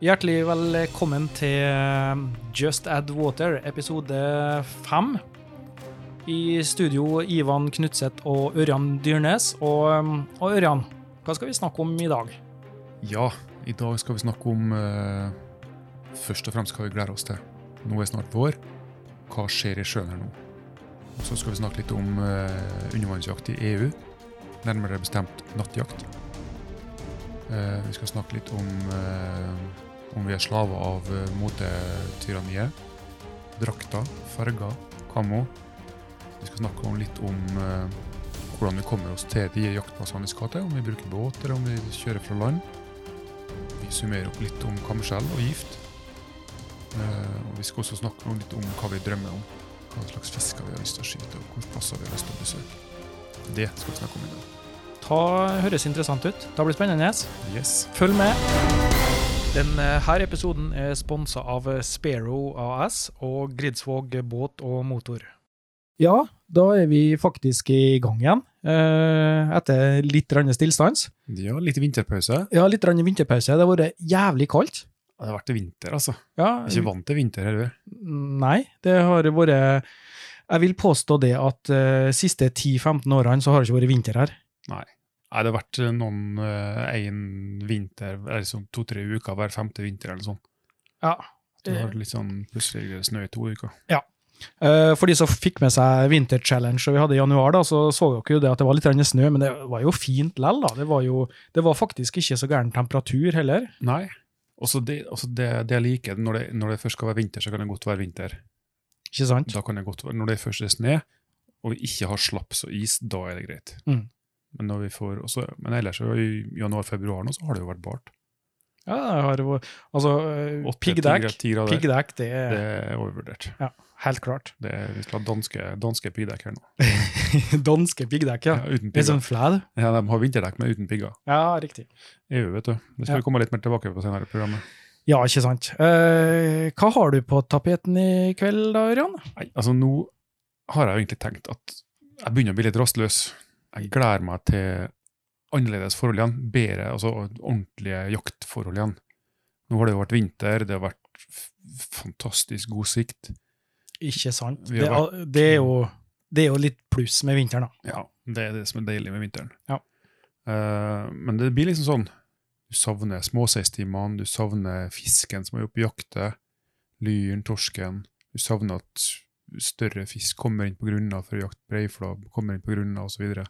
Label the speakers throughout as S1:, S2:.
S1: Hjertelig velkommen til eh, Just Add Water, episode fem. I studio Ivan Knutseth og Ørjan Dyrnes. Og, eh, og Ørjan, hva skal vi snakke om i dag?
S2: Ja, i dag skal vi snakke om eh, Først og fremst hva vi gleder oss til. Nå er snart vår. Hva skjer i sjøen her nå? Og så skal vi snakke litt om eh, undervannsjakt i EU. Nærmere bestemt nattjakt. Eh, vi skal snakke litt om eh, om vi er slaver av eh, motetyranniet. Drakter, farger, kammo. Vi skal snakke om litt om eh, hvordan vi kommer oss til de jaktplassene vi skal til. Om vi bruker båt, eller om vi kjører fra land. Vi summerer opp litt om kamskjell og gift. Eh, og vi skal også snakke om litt om hva vi drømmer om. Hva slags fisker vi har lyst til å skyte, og hvilke plasser vi har lyst til å besøke. Det skal vi snakke om i dag.
S1: Ta, høres interessant ut. Det blir spennende.
S2: Yes.
S1: Følg med. Denne eh, episoden er sponsa av Sparrow AS og Gridsvåg båt og motor. Ja, da er vi faktisk i gang igjen, eh, etter litt grann stillstans.
S2: Ja, litt vinterpause.
S1: Ja, litt grann vinterpause. Det har vært jævlig kaldt.
S2: Det har vært vinter, altså.
S1: Ja,
S2: Ikke vant til vinter heller.
S1: Nei, det har vært Jeg vil påstå det at de siste 10-15 årene så har det ikke vært vinter her.
S2: Nei, det har vært eh, noen én vinter, eller sånn to-tre uker hver femte vinter eller sånn.
S1: Ja.
S2: Det har vært litt sånn plutselig er det snø i to uker.
S1: Eh, For de som fikk med seg Winter Challenge som vi hadde i januar, da, så så dere jo det at det var litt grann snø, men det var jo fint lell. da. Det var jo det var faktisk ikke så gæren temperatur heller.
S2: Nei. Også det, også det, det jeg liker, når det, når det først skal være vinter, så kan det godt være vinter.
S1: Ikke sant?
S2: Da kan det godt være. Når det først er snø, og vi ikke har slaps og is, da er det greit.
S1: Mm.
S2: Men, når vi får, også, men ellers så i januar-februar nå, så har det jo vært bart.
S1: Ja, det har vært Altså, eh,
S2: Åtte,
S1: piggdekk,
S2: ti gra- ti grader.
S1: piggdekk, det er
S2: Det er overvurdert.
S1: helt klart.
S2: Det er, vi skal ha danske, danske piggdekk her nå.
S1: Danske piggdekk, ja.
S2: Ja, uten
S1: Litt
S2: pigger.
S1: sånn flæl.
S2: Ja, de har vinterdekk, men uten pigger.
S1: Ja, riktig.
S2: EU, vet du. Det
S1: Ja.
S2: skal vi komme litt mer tilbake på senere i programmet.
S1: Ja, ikke sant. Eh, hva har du på tapeten i kveld da, Ørjan?
S2: Nei, altså nå har jeg jo egentlig tenkt at jeg begynner å bli litt rastløs. Jeg gleder meg til annerledes forhold igjen. Bedre, altså ordentlige jaktforhold igjen. Nå har det jo vært vinter, det har vært f- fantastisk god sikt.
S1: Ikke sant.
S2: Vi
S1: Det,
S2: har
S1: er- det, er jo, det er jo litt pluss med vinteren, da.
S2: Ja, det er det som er deilig med vinteren.
S1: Ja.
S2: Eh, men det blir liksom sånn, du savner småseistimene, du savner fisken som er oppe i jakte, lyren, torsken, du savner at større fisk kommer inn på grunna for å jakte breiflabb, kommer inn på grunna og så videre.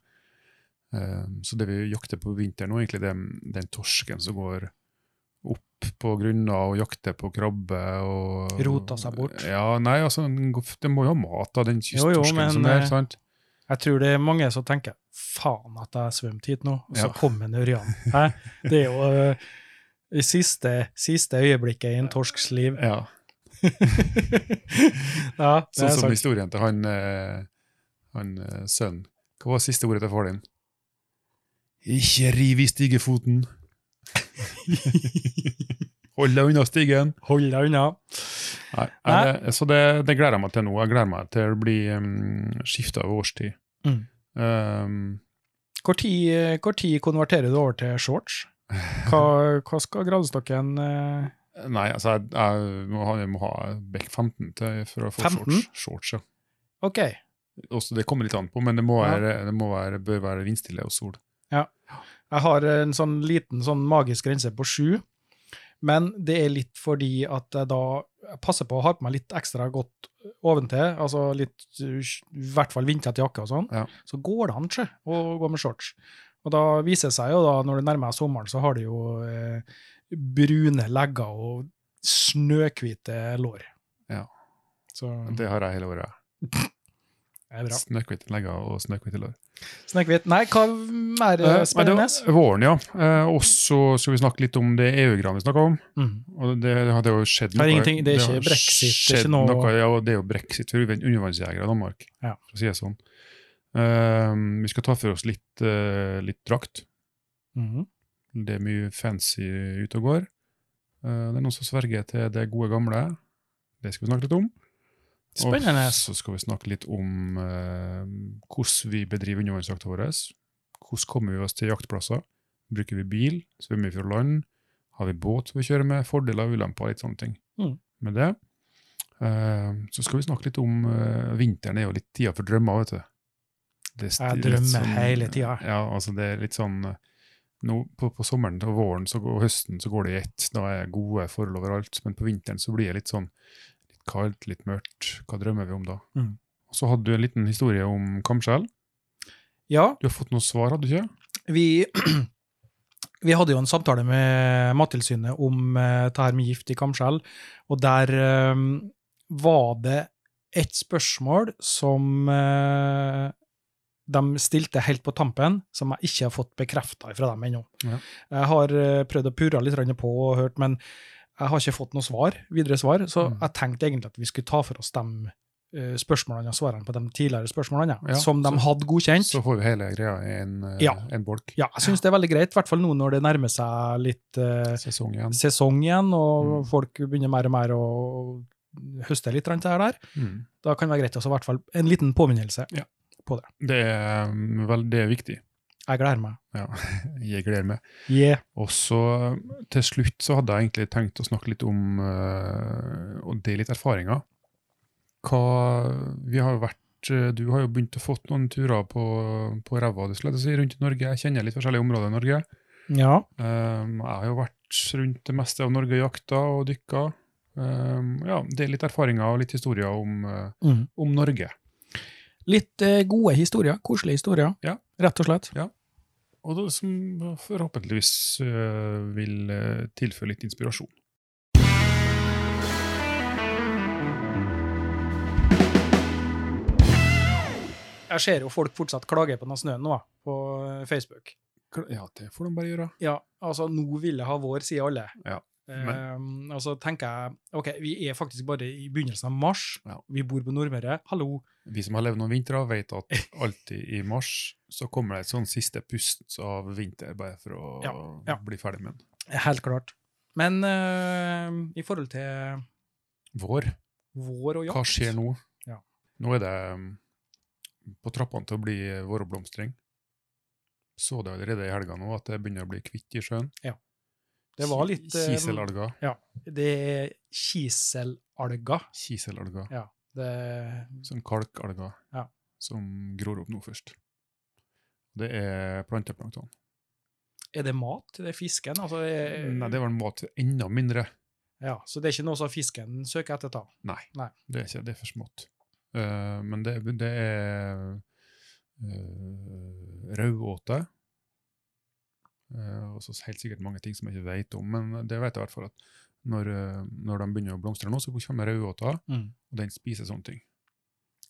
S2: Eh, så det vi jakter på vinteren nå, er egentlig den, den torsken som går opp på grunna og jakter på krabbe og...
S1: Roter seg bort.
S2: Ja, nei, altså, den, går- den må jo ha mat da, den
S1: Jo, jo,
S2: kysttorsken
S1: men,
S2: som er,
S1: eh,
S2: sant?
S1: Jeg tror det er mange som tenker faen at jeg har svømt hit nå, og så
S2: Ja.
S1: kom en Ørjan. Hæ? Det er jo eh, det siste, siste øyeblikket i en torsks liv.
S2: Ja,
S1: ja, det
S2: Sånn
S1: er
S2: som
S1: sant.
S2: historien til han, eh, han eh, sønnen. Hva var siste ordet til far din? Ikke riv i stigefoten. Hold deg unna stigen.
S1: Hold deg unna.
S2: Nei, Det, så det, det gleder jeg meg til nå. Jeg gleder meg til å bli um, skifta over årstid.
S1: Mm.
S2: Um,
S1: Hvor tid, hvor tid konverterer du over til shorts? Hva, hva skal gradestokken eh,
S2: nei, altså jeg, jeg, må ha, jeg må ha Beck 15 til, for å få
S1: 15?
S2: shorts. shorts ja.
S1: Ok,
S2: Også, det kommer litt an på, men det, må
S1: Ja.
S2: være, det må være, bør være vindstille og sol.
S1: Jeg har en sånn liten sånn magisk grense på sju, men det er litt fordi at jeg da passer på å ha på meg litt ekstra godt oventil, altså litt, uh, i hvert fall vindtett jakke og sånn,
S2: Ja.
S1: så går det an ikke å gå med shorts. Og da viser det seg jo da, når det nærmer seg sommeren, så har det jo eh, brune legger og snøhvite lår.
S2: Ja.
S1: Så det
S2: Det har jeg hele året.
S1: er Mm. bra.
S2: Snøhvite legger og snøhvite lår.
S1: Snøhvit. Nei, hva mer eh,
S2: Eh, nei, det
S1: spennende?
S2: var Våren, ja. Eh, og så skal vi snakke litt om det EU-greiene vi snakka om.
S1: Mm.
S2: Og det, det har det har jo skjedd
S1: Har ingenting- det er ikke
S2: har
S1: brexit, det er ikke
S2: skjedd
S1: noe-
S2: ja, og det er jo brexit for undervannsjegere i Danmark,
S1: Ja.
S2: for å si det sånn. Eh, vi skal ta for oss litt, eh, litt drakt.
S1: Mhm.
S2: Det er mye fancy ute og går. Eh, det er noen som sverger til det gode gamle. Det skal vi snakke litt om.
S1: Spennende.
S2: Og så skal vi snakke litt om eh, hvordan vi bedriver undervannsjakta vår. Hvordan kommer vi oss til jaktplasser? Bruker vi bil? Svømmer vi fra land? Har vi båt vi kjører med? Fordeler og ulemper og litt sånne ting.
S1: Mm.
S2: Med det. eh, så skal vi snakke litt om eh, Vinteren er jo litt tida for drømmer, vet du. Det er sti-
S1: Jeg
S2: litt
S1: drømmer
S2: sånn-
S1: hele tida.
S2: Ja, altså det er litt sånn eh, nå på, på sommeren og våren så, går- og høsten så går det i ett. Da er gode forhold overalt. Men på vinteren så blir det litt sånn litt kaldt, litt mørkt. Hva drømmer vi om da?
S1: Mm.
S2: Og så hadde du en liten historie om kamskjell.
S1: Ja,
S2: Du har fått noen svar, hadde du ikke?
S1: vi, vi hadde jo en samtale med Mattilsynet om eh, det her med gift i kamskjell, og der eh, var det et spørsmål som eh, de stilte helt på tampen, som jeg ikke har fått bekrefta fra dem ennå.
S2: Ja.
S1: Jeg har eh, prøvd å purre litt grann på og hørt, men jeg har ikke fått noe svar, videre svar, så
S2: Mm.
S1: jeg tenkte egentlig at vi skulle ta for oss de eh, spørsmålene og svarene på de tidligere spørsmålene,
S2: Ja,
S1: som de
S2: så-
S1: hadde godkjent.
S2: Så får vi hele greia i en, eh,
S1: Ja.
S2: en bolk.
S1: Ja, jeg syns det er veldig greit, i hvert fall nå når det nærmer seg litt eh,
S2: Sesong igjen.
S1: sesong igjen, og
S2: Mm.
S1: folk begynner mer og mer å høste litt rundt det her der.
S2: Mm.
S1: Da kan det være greit også, i hvert fall en liten påminnelse.
S2: Det er um, vel det er viktig.
S1: Jeg gleder meg.
S2: Ja, jeg gleder meg.
S1: Yeah.
S2: Og så um, til slutt så hadde jeg egentlig tenkt å snakke litt om eh, og dele litt erfaringer. Hva Vi har jo vært eh, Du har jo begynt å fått noen turer på, på ræva du skulle jeg til å si, rundt i Norge. Jeg kjenner litt forskjellige områder i Norge.
S1: Ja.
S2: Um, jeg har jo vært rundt det meste av Norge og jakta og dykka. Um, ja, det er litt erfaringer og litt historier om, eh,
S1: Mm.
S2: om Norge.
S1: Litt eh, gode historier, koselige historier,
S2: Ja.
S1: rett og slett.
S2: og det som forhåpentligvis øh, vil øh, tilføre litt inspirasjon.
S1: Jeg ser jo folk fortsatt klage på den snøen nå, på eh, Facebook.
S2: Ja, det får de bare gjøre.
S1: Ja, altså, nå vil jeg ha vår, sier alle.
S2: Ja,
S1: Eh, og så tenker jeg, ok, vi er faktisk bare i begynnelsen av mars,
S2: Ja.
S1: vi bor på Nordmøre, hallo.
S2: Vi som har levd noen vintre, vet at alltid i mars så kommer det et sånn siste pust av vinter, bare for å
S1: ja.
S2: bli ferdig med den.
S1: Helt klart. Men eh, i forhold til
S2: Vår,
S1: vår og jakt
S2: hva skjer nå?
S1: Ja.
S2: Nå er det um, på trappene til å bli våroppblomstring. Så det allerede i helga nå at det begynner å bli kvitt i sjøen.
S1: Det var litt eh,
S2: Kiselalger.
S1: Det er kiselalger.
S2: Kiselalger.
S1: Det,
S2: Sånn kalkalger
S1: Ja.
S2: som gror opp nå først. Det er planteplankton.
S1: er det mat? Er det fisken? Altså, er,
S2: Mm, Nei, det var en mat enda mindre.
S1: ja, så det er ikke noe som fisken søker etter? da.
S2: Nei,
S1: Nei.
S2: det er ikke det er for smått. Eh, men det, det er uh, rødåte. Eh, og så helt sikkert mange ting som jeg ikke vet om, men det vet jeg i hvert fall at når, eh, når de begynner å blomstre nå, så kommer rødåta,
S1: Mm.
S2: og den spiser sånne ting.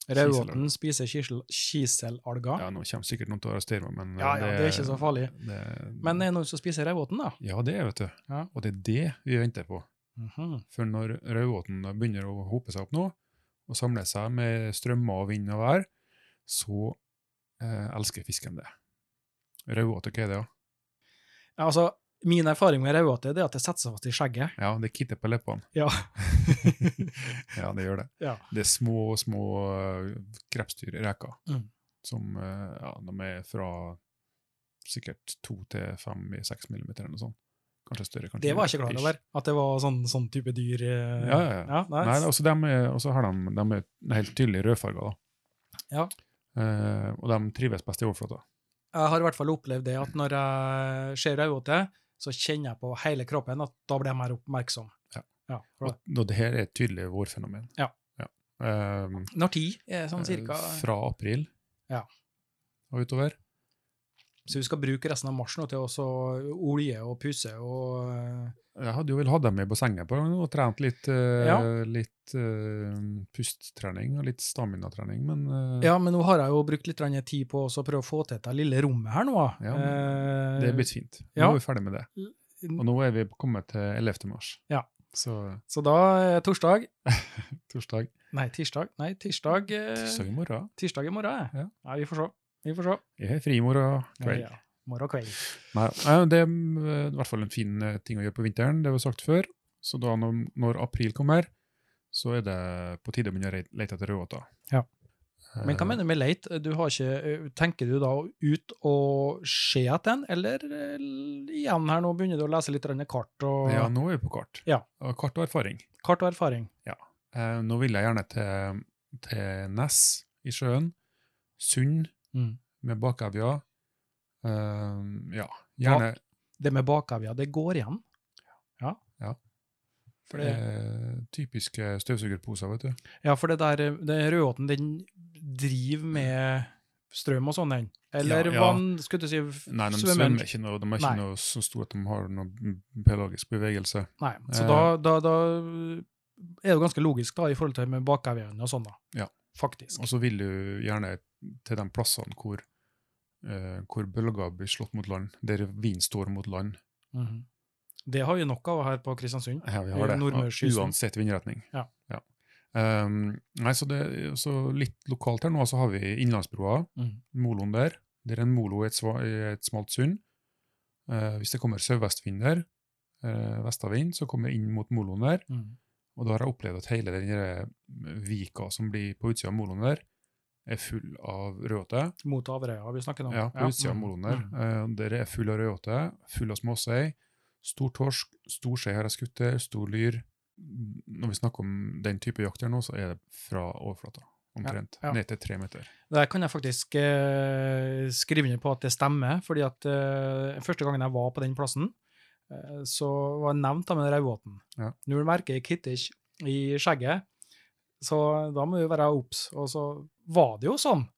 S1: Rødåten spiser kisel, kiselalger? Ja,
S2: Ja, nå kommer sikkert noen til å arrestere meg, men eh,
S1: ja, det er ikke så farlig.
S2: det-
S1: Men er det noen som spiser rødåten, da?
S2: Ja, det er vet du.
S1: Ja.
S2: Og det er det vi venter på.
S1: Mhm.
S2: For når raudåten da begynner å hope seg opp nå, og samle seg med strømmer og vind og vær, så eh, elsker fisken det. Raudåte, hva er det? da?
S1: Ja, altså, min erfaring med rødåte er at det setter seg fast i skjegget.
S2: Ja, det kitter på leppene.
S1: Ja.
S2: Ja, det gjør det.
S1: Ja.
S2: Det er små, små eh, krepsdyr, reker,
S1: Mm.
S2: som eh, ja, de er fra sikkert to til fem i seks millimeter eller noe sånt. Kanskje større, kanskje
S1: Det var jeg ikke
S2: mindre.
S1: klar
S2: Ish.
S1: over, at det var sånn, sånn type dyr. eh,
S2: Ja, ja, ja.
S1: nei,
S2: Nei, også dem er, også har de, de er helt tydelig rødfarga, da.
S1: Ja.
S2: Eh, og de trives best i overflata.
S1: Jeg har i hvert fall opplevd det at når jeg ser rødåte, så kjenner jeg på hele kroppen at da blir jeg mer oppmerksom.
S2: Ja.
S1: for
S2: Og,
S1: det.
S2: og det her er et tydelig vårfenomen.
S1: Ja.
S2: Eh,
S1: Når tid er sånn cirka?
S2: eh, Fra april
S1: Ja.
S2: og utover.
S1: Så du skal bruke resten av mars nå til å så olje og pusse og eh,
S2: Jeg hadde jo vel hatt dem i bassenget på og trent litt, eh,
S1: Ja.
S2: litt eh, pusttrening og litt staminatrening, men eh,
S1: Ja, men nå har jeg jo brukt litt grann tid på å så prøve å få til dette lille rommet her nå. da.
S2: Ja,
S1: Eh,
S2: det er blitt fint. Nå
S1: ja.
S2: er vi ferdig med det. Og nå er vi kommet til 11. mars.
S1: Ja.
S2: Så
S1: Så da er torsdag
S2: torsdag,
S1: Nei, tirsdag. Nei, tirsdag, eh, tirsdag.
S2: tirsdag i morgen.
S1: i morgen. jeg.
S2: Ja.
S1: Nei, vi får se. Vi får se.
S2: Jeg har fri i morgen kveld.
S1: Ja, ja. Morgen kveld.
S2: Nei, nei, det er mm, i hvert fall en fin eh, ting å gjøre på vinteren, det har vi sagt før. Så da når, når april kommer, så er det på tide å begynne å re- lete etter rødåter.
S1: Ja. Men
S2: Eh,
S1: hva mener du med leit? Du har ikke, eh, tenker du da ut og se etter den, eller eh, igjen her nå begynner du å lese litt grann kart og,
S2: Ja, nå er vi på kart.
S1: Ja.
S2: Og Kart og erfaring.
S1: kart og erfaring?
S2: Eh, nå vil jeg gjerne til, til Ness i sjøen, Sund
S1: Mm.
S2: med bakevja. Eh, ja, gjerne
S1: Det med bakevja, det går igjen. for det-
S2: eh, typiske støvsugerposer, vet du.
S1: Ja, for det der, eh, den rødåten, den driver med strøm og sånn, den. Eller
S2: Ja, ja.
S1: vann, skulle du si, f-
S2: Nei, de
S1: svømmer den.
S2: svømmer ikke noe, de er
S1: Nei.
S2: ikke noe så store at de har noen biologisk bevegelse.
S1: Nei, så
S2: Eh.
S1: da, da, da er det jo ganske logisk da, i forhold til med bakevjen og sånn da.
S2: Ja.
S1: Faktisk.
S2: Og så vil du gjerne til de plassene hvor, eh, hvor bølger blir slått mot land, der vind står mot land.
S1: Mhm. Det har vi nok av her på Kristiansund.
S2: Ja, vi
S1: Eh,
S2: har det.
S1: Nordmørskysten.
S2: Ja, Uansett vindretning.
S1: Ja.
S2: Ehm, nei, så, det, så litt lokalt her nå, så har vi Innlandsbroa,
S1: Mhm.
S2: moloen der. Der er en molo i et, sva- i et smalt sund. Eh, hvis det kommer sørvestvind der, eh, vestavind, så kommer jeg inn mot moloen der.
S1: Mhm.
S2: Og da har jeg opplevd at hele den der vika som blir på utsida av moloen der, er full av rødåte.
S1: Mot Averøya, vi snakker nå.
S2: Sånn. Ja, på utsida av moloen der.
S1: Mhm.
S2: Eh, der er full av rødåte, full av småsei. Stor torsk, stor sei har jeg skutt der, stor lyr. Når vi snakker om den type jakt her nå, så er det fra overflata, omtrent.
S1: Ja, ja.
S2: Ned til tre meter.
S1: Der kan jeg faktisk eh, skrive under på at det stemmer, fordi at eh, første gangen jeg var på den plassen, eh, så var jeg nevnt av med Rauvåten.
S2: Ja.
S1: Når du merker kittish i skjegget, så da må du være obs. Og så var det jo sånn.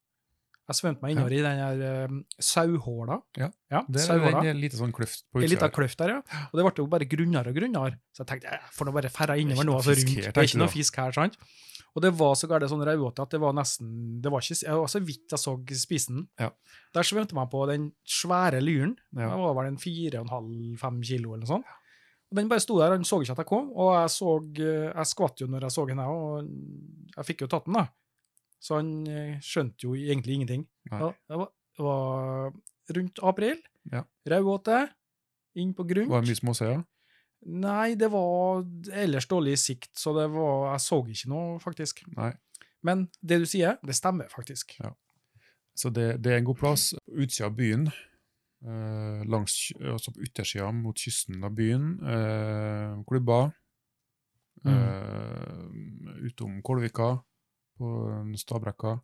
S1: Jeg svømte meg innover i den her eh, sauhåla.
S2: Ja,
S1: ja
S2: Det er,
S1: sauhåla.
S2: det er en liten sånn kløft på
S1: Ei lita
S2: utsida. her.
S1: kløft der, ja. Og det ble jo bare grunnere og grunnere. Så jeg tenkte jeg får nå bare ferde innover
S2: Det er
S1: nå,
S2: ikke noe
S1: altså
S2: fisk
S1: rundt.
S2: her,
S1: Det er
S2: tenkte
S1: ikke
S2: du
S1: noe
S2: da.
S1: fisk her, sant. Og det var så gærent sånn raudåte at det var nesten Det var ikke Jeg var så vidt jeg så spissen.
S2: Ja.
S1: Der svømte man på den svære lyren.
S2: Ja.
S1: Den var vel en 4,5-5 kilo eller noe sånt. Og den bare sto der, han så ikke at jeg kom, og jeg så Jeg skvatt jo når jeg så den, jeg òg, og jeg fikk jo tatt den, da. Så han eh, skjønte jo egentlig ingenting.
S2: Nei.
S1: Ja, Det var, det var rundt april.
S2: Ja.
S1: Raudåte. Inn på grunn.
S2: Var det mye småseier?
S1: Nei, det var ellers dårlig sikt, så det var, jeg så ikke noe, faktisk.
S2: Nei.
S1: Men det du sier, det stemmer faktisk.
S2: Så det, det er en god plass. Utsida av byen, eh, langs, ky- altså på yttersida mot kysten av byen, eh, klubber, eh, utom Kolvika, på en Stabrekka,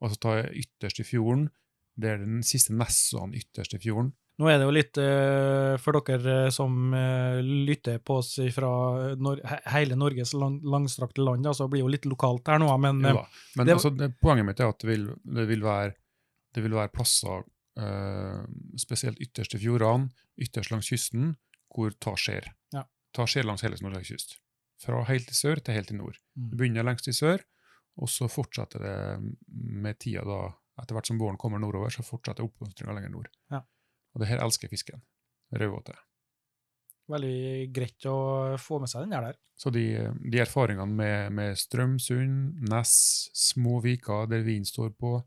S2: og så tar jeg ytterst i fjorden, det er den siste nessene ytterst i fjorden.
S1: Nå er det jo litt, eh, for dere eh, som eh, lytter på oss fra eh, Nor he- hele Norges lang langstrakte land, da, så blir det jo litt lokalt her nå, men
S2: Jo
S1: eh,
S2: da. Men
S1: det-
S2: altså, det, poenget mitt er at det vil, det vil, være, det vil være plasser, eh, spesielt ytterst i fjordene, ytterst langs kysten, hvor ta skjer.
S1: Ja.
S2: Ta skjer langs hele Norges kyst. Fra helt i sør til helt i nord. Det
S1: Mm.
S2: begynner lengst i sør, og så fortsetter det med tida da, etter hvert som våren kommer nordover, så fortsetter oppblomstringa lenger nord.
S1: Ja.
S2: Og det her elsker fisken. Rødåte.
S1: veldig greit å få med seg den her der.
S2: Så de, de erfaringene med, med Strømsund, Ness, små viker der vinen står på,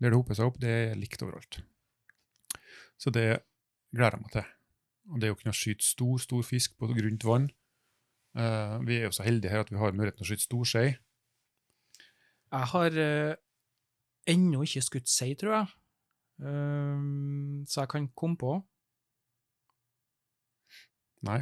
S2: der det hoper seg opp, det er likt overalt. Så det gleder jeg meg til. Og det å kunne skyte stor, stor fisk på grunt vann eh, Vi er jo så heldige her at vi har muligheten til å skyte stor sei.
S1: Jeg har eh, ennå ikke skutt sei, tror jeg. Ehm, så jeg kan komme på.
S2: Nei,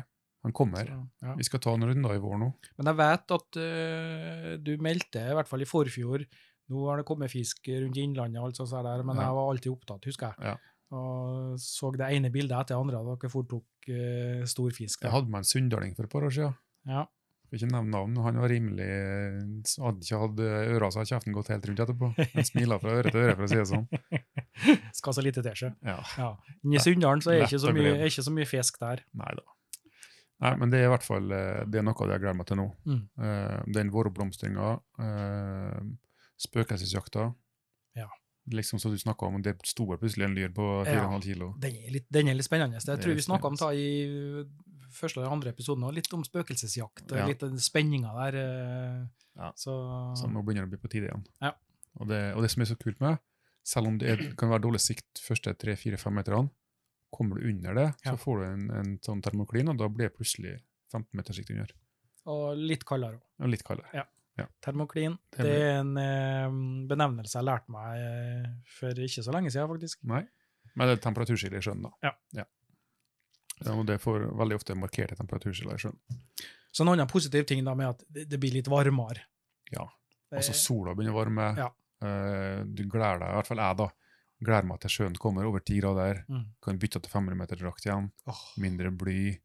S2: han kommer.
S1: Så, ja.
S2: Vi skal ta noen runder i vår nå.
S1: Men jeg vet at eh, du meldte, i hvert fall i forfjor, nå har det kommet fisk rundt i innlandet, og alt sånt der, men
S2: Ja.
S1: jeg var alltid opptatt, husker jeg.
S2: Ja.
S1: Og så det ene bildet etter det andre av dere foretok eh, stor fisk.
S2: Jeg
S1: da.
S2: hadde med en sunndaling for et par år siden.
S1: Ja.
S2: Skal ikke nevne navn, han var rimelig Hadde ikke hatt øra, så hadde kjeften gått helt rundt etterpå. Han smila fra øre til øre, for å si det sånn.
S1: Skal så lite til seg.
S2: Ja.
S1: Ja. Inni Sunndalen så er det
S2: Lett
S1: ikke, så
S2: å
S1: mye-
S2: glemme.
S1: er ikke så mye fisk der.
S2: Nei da. Nei, men det er i hvert fall eh, det er noe av det jeg gleder meg til nå.
S1: Mm.
S2: Eh, Den våroppblomstringa, eh, spøkelsesjakta.
S1: Ja.
S2: Liksom som du snakka om, det sto vel plutselig en lyr på 4,5 kilo.
S1: Den er litt, den er litt spennende. Jeg
S2: er
S1: tror vi
S2: litt
S1: snakka om det i første eller andre episoden, også, litt om spøkelsesjakt, og
S2: Ja.
S1: litt den spenninga der. eh,
S2: Ja.
S1: Så,
S2: Så nå begynner det å bli på tide igjen.
S1: Ja.
S2: Og, det, og det som er så kult med, selv om det er, kan være dårlig sikt første 3-4-5 meterne, kommer du under det,
S1: Ja.
S2: så får du en, en sånn termoklin, og da blir det plutselig 15 meters sikt under.
S1: og litt kaldere òg.
S2: Og litt kaldere.
S1: Ja.
S2: Ja.
S1: Termoklin.
S2: Det er
S1: Det er en eh, benevnelse jeg lærte meg eh, for ikke så lenge siden, faktisk.
S2: Nei. Men det er temperaturskille i sjøen, da.
S1: Ja.
S2: Ja, og det får veldig ofte markerte temperaturskiller i sjøen.
S1: Så en annen positiv ting da med at det, det blir litt varmere.
S2: Ja.
S1: Det-
S2: Altså sola begynner å varme.
S1: Ja.
S2: Eh, du gleder deg, i hvert fall jeg da, gleder meg til sjøen kommer over 10 grader.
S1: Mm.
S2: Kan bytte til 500 meter drakt igjen.
S1: Åh,
S2: Mindre bly.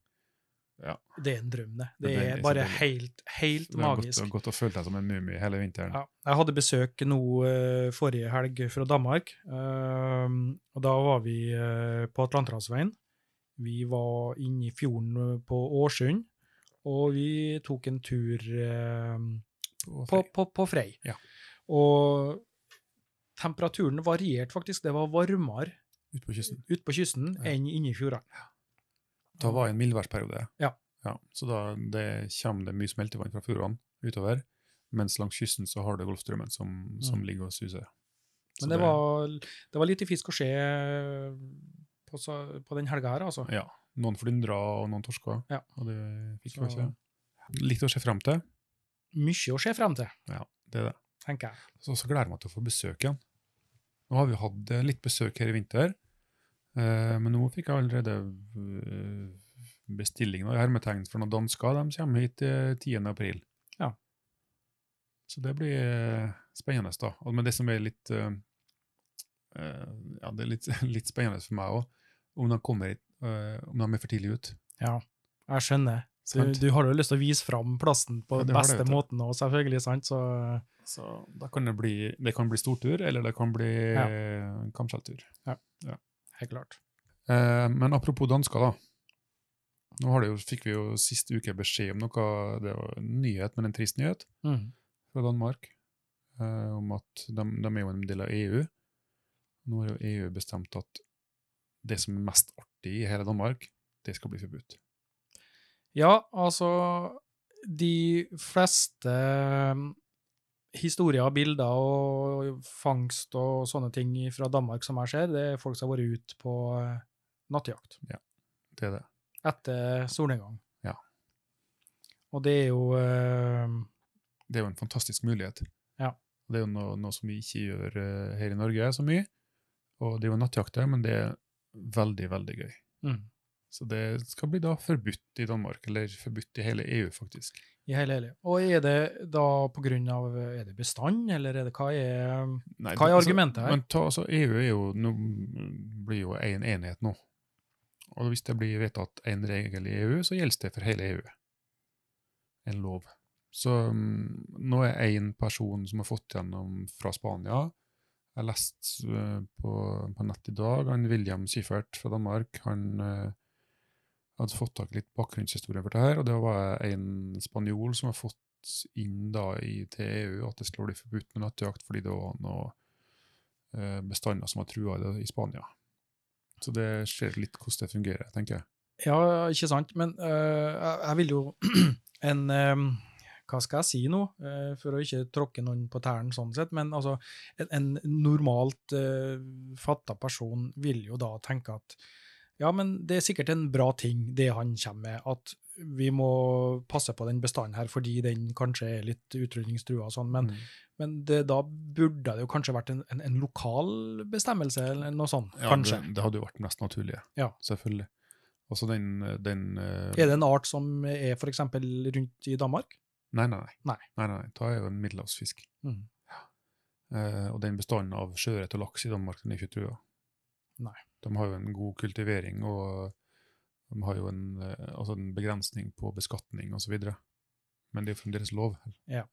S1: det er en drøm, det. Det
S2: Det er
S1: er
S2: så
S1: bare
S2: deilig.
S1: helt, helt
S2: Det er godt,
S1: magisk.
S2: godt å føle deg som en mumie hele vinteren.
S1: Ja. Jeg hadde besøk nå eh, forrige helg fra Danmark, ehm, og da var vi eh, på Atlanterhavsveien. Vi var inne i fjorden eh, på Årsund, og vi tok en tur ehm,
S2: Og
S1: på,
S2: fri.
S1: på, på Frei.
S2: Ja.
S1: Og temperaturen varierte faktisk. Det var varmere
S2: Ute på kysten.
S1: ute på kysten
S2: Ja.
S1: enn inne i fjordene.
S2: Da var det en mildværsperiode.
S1: Ja.
S2: så da det kommer det mye smeltevann fra fjordene utover. Mens langs kysten så har du Golfstrømmen som, som
S1: Mm.
S2: ligger og suser. Så
S1: Men det var, det var lite fisk å se eh, på, så- på den helga her, altså.
S2: Ja. Noen flyndra og noen torsker.
S1: Ja.
S2: Og det fikk
S1: Så-
S2: vi ikke. Litt å se frem til.
S1: Mye å se frem til,
S2: Det er det.
S1: tenker jeg.
S2: Så, så gleder jeg meg til å få besøk igjen. Nå har vi hatt eh, litt besøk her i vinter, eh, men nå fikk jeg allerede eh, bestilling i hermetegn for noen dansker. De kommer hit eh, 10. april.
S1: Ja.
S2: Så det blir eh, spennende, da. Og- Men det som er litt eh, eh, Ja, det er litt, litt spennende for meg òg, om de kommer hit, eh, om de er for tidlig ut.
S1: Jeg skjønner. Du,
S2: Sant?
S1: du har jo lyst til å vise fram plassen på
S2: Ja, det
S1: den
S2: har det,
S1: beste
S2: vet du.
S1: måten, og selvfølgelig, sant? Så eh,
S2: Så da kan det bli, det kan bli stortur, eller det kan bli
S1: Ja.
S2: eh, kamskjelltur.
S1: helt klart.
S2: Eh, men apropos dansker, da. Nå har det jo, fikk vi jo sist uke beskjed om noe Det var en nyhet, men en trist nyhet
S1: Mm.
S2: fra Danmark. Eh, om at de, de er jo en del av EU. Nå har jo EU bestemt at det som er mest artig i hele Danmark, det skal bli forbudt.
S1: Ja, altså De fleste mm, historier, bilder og fangst og sånne ting fra Danmark som jeg ser, det er folk som har vært ute på eh, nattejakt
S2: Det er det.
S1: etter solnedgang.
S2: Ja.
S1: Og det er jo eh,
S2: Det er jo en fantastisk mulighet.
S1: Ja.
S2: Det er jo noe, noe som vi ikke gjør eh, her i Norge så mye. Og det er jo nattjakter, men det er veldig, veldig gøy.
S1: mm,
S2: Så det skal bli da forbudt i Danmark, eller forbudt i hele EU, faktisk.
S1: i hele hele. Og er det da på grunn av eh, Er det bestand, eller er det hva er eh,
S2: Nei,
S1: Hva er
S2: altså-
S1: argumentet her?
S2: Men ta, altså, EU er jo, nå mm, blir jo en enhet nå. Og hvis det blir vedtatt en regel i EU, så gjelder det for hele EU. En lov. Så mm, nå er én person som har fått gjennom fra Spania Jeg leste eh, på, på nett i dag han William Syfert fra Danmark. Han eh, hadde fått tak i litt bakgrunnshistorie for det her, og det var en spanjol som har fått inn da i, til EU at det skulle bli forbudt med nattjakt fordi det var noe eh, bestander som var trua i det i Spania. Så det ser litt hvordan det fungerer, tenker jeg.
S1: Ja, ikke sant. Men øh, jeg, jeg vil jo en øhm, Hva skal jeg si nå, øh, for å ikke tråkke noen på tærne sånn sett, men altså, en, en normalt øh, fatta person vil jo da tenke at ja, men det er sikkert en bra ting, det han kommer med, at vi må passe på den bestanden her fordi den kanskje er litt utrydningstrua og sånn, men,
S2: Mm.
S1: men det, da burde det jo kanskje vært en, en, en lokal bestemmelse eller noe sånt,
S2: Ja,
S1: kanskje.
S2: Det, det hadde jo vært mest naturlige,
S1: Ja.
S2: selvfølgelig. Og så den, den eh,
S1: Er det en art som er f.eks. rundt i Danmark?
S2: Nei, nei, nei.
S1: Nei.
S2: nei, nei, nei. Da er jo en middelhavsfisk.
S1: Mm.
S2: Eh, og den bestanden av sjøørret og laks i Danmark den er ikke trua.
S1: Nei.
S2: De har jo en god kultivering, og de har jo en, eh, altså en begrensning på beskatning osv. Men det er jo fremdeles lov.
S1: Ja.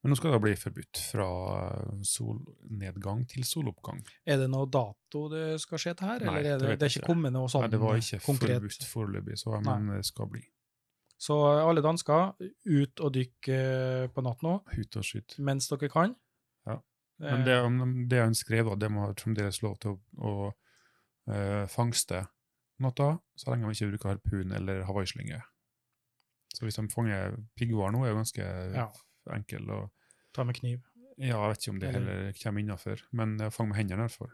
S2: Men nå skal det bli forbudt fra solnedgang til soloppgang.
S1: Er det noe dato det skal skje til her,
S2: Nei,
S1: eller er
S2: det
S1: det,
S2: vet
S1: det er
S2: jeg
S1: ikke
S2: ikke.
S1: kommet noe sånn
S2: Nei, det var ikke
S1: konkret?
S2: forbudt foreløpig, så jeg,
S1: Nei.
S2: men det skal bli.
S1: Så eh, alle dansker, ut og dykk eh, på natt nå,
S2: Hut og skyt.
S1: mens dere kan. Eh,
S2: Ja.
S1: Det-
S2: Men det, om- det han skrev, da, de har fremdeles lov til å, å eh, fangste natta, så lenge de ikke bruker harpun eller hawaiislynge. Så hvis de fanger piggvar nå, er det ganske
S1: ja,
S2: enkel. Og,
S1: ta med kniv.
S2: ja, jeg vet ikke om det
S1: Eller-
S2: heller kommer innafor, men jeg fanger med hendene i hvert fall.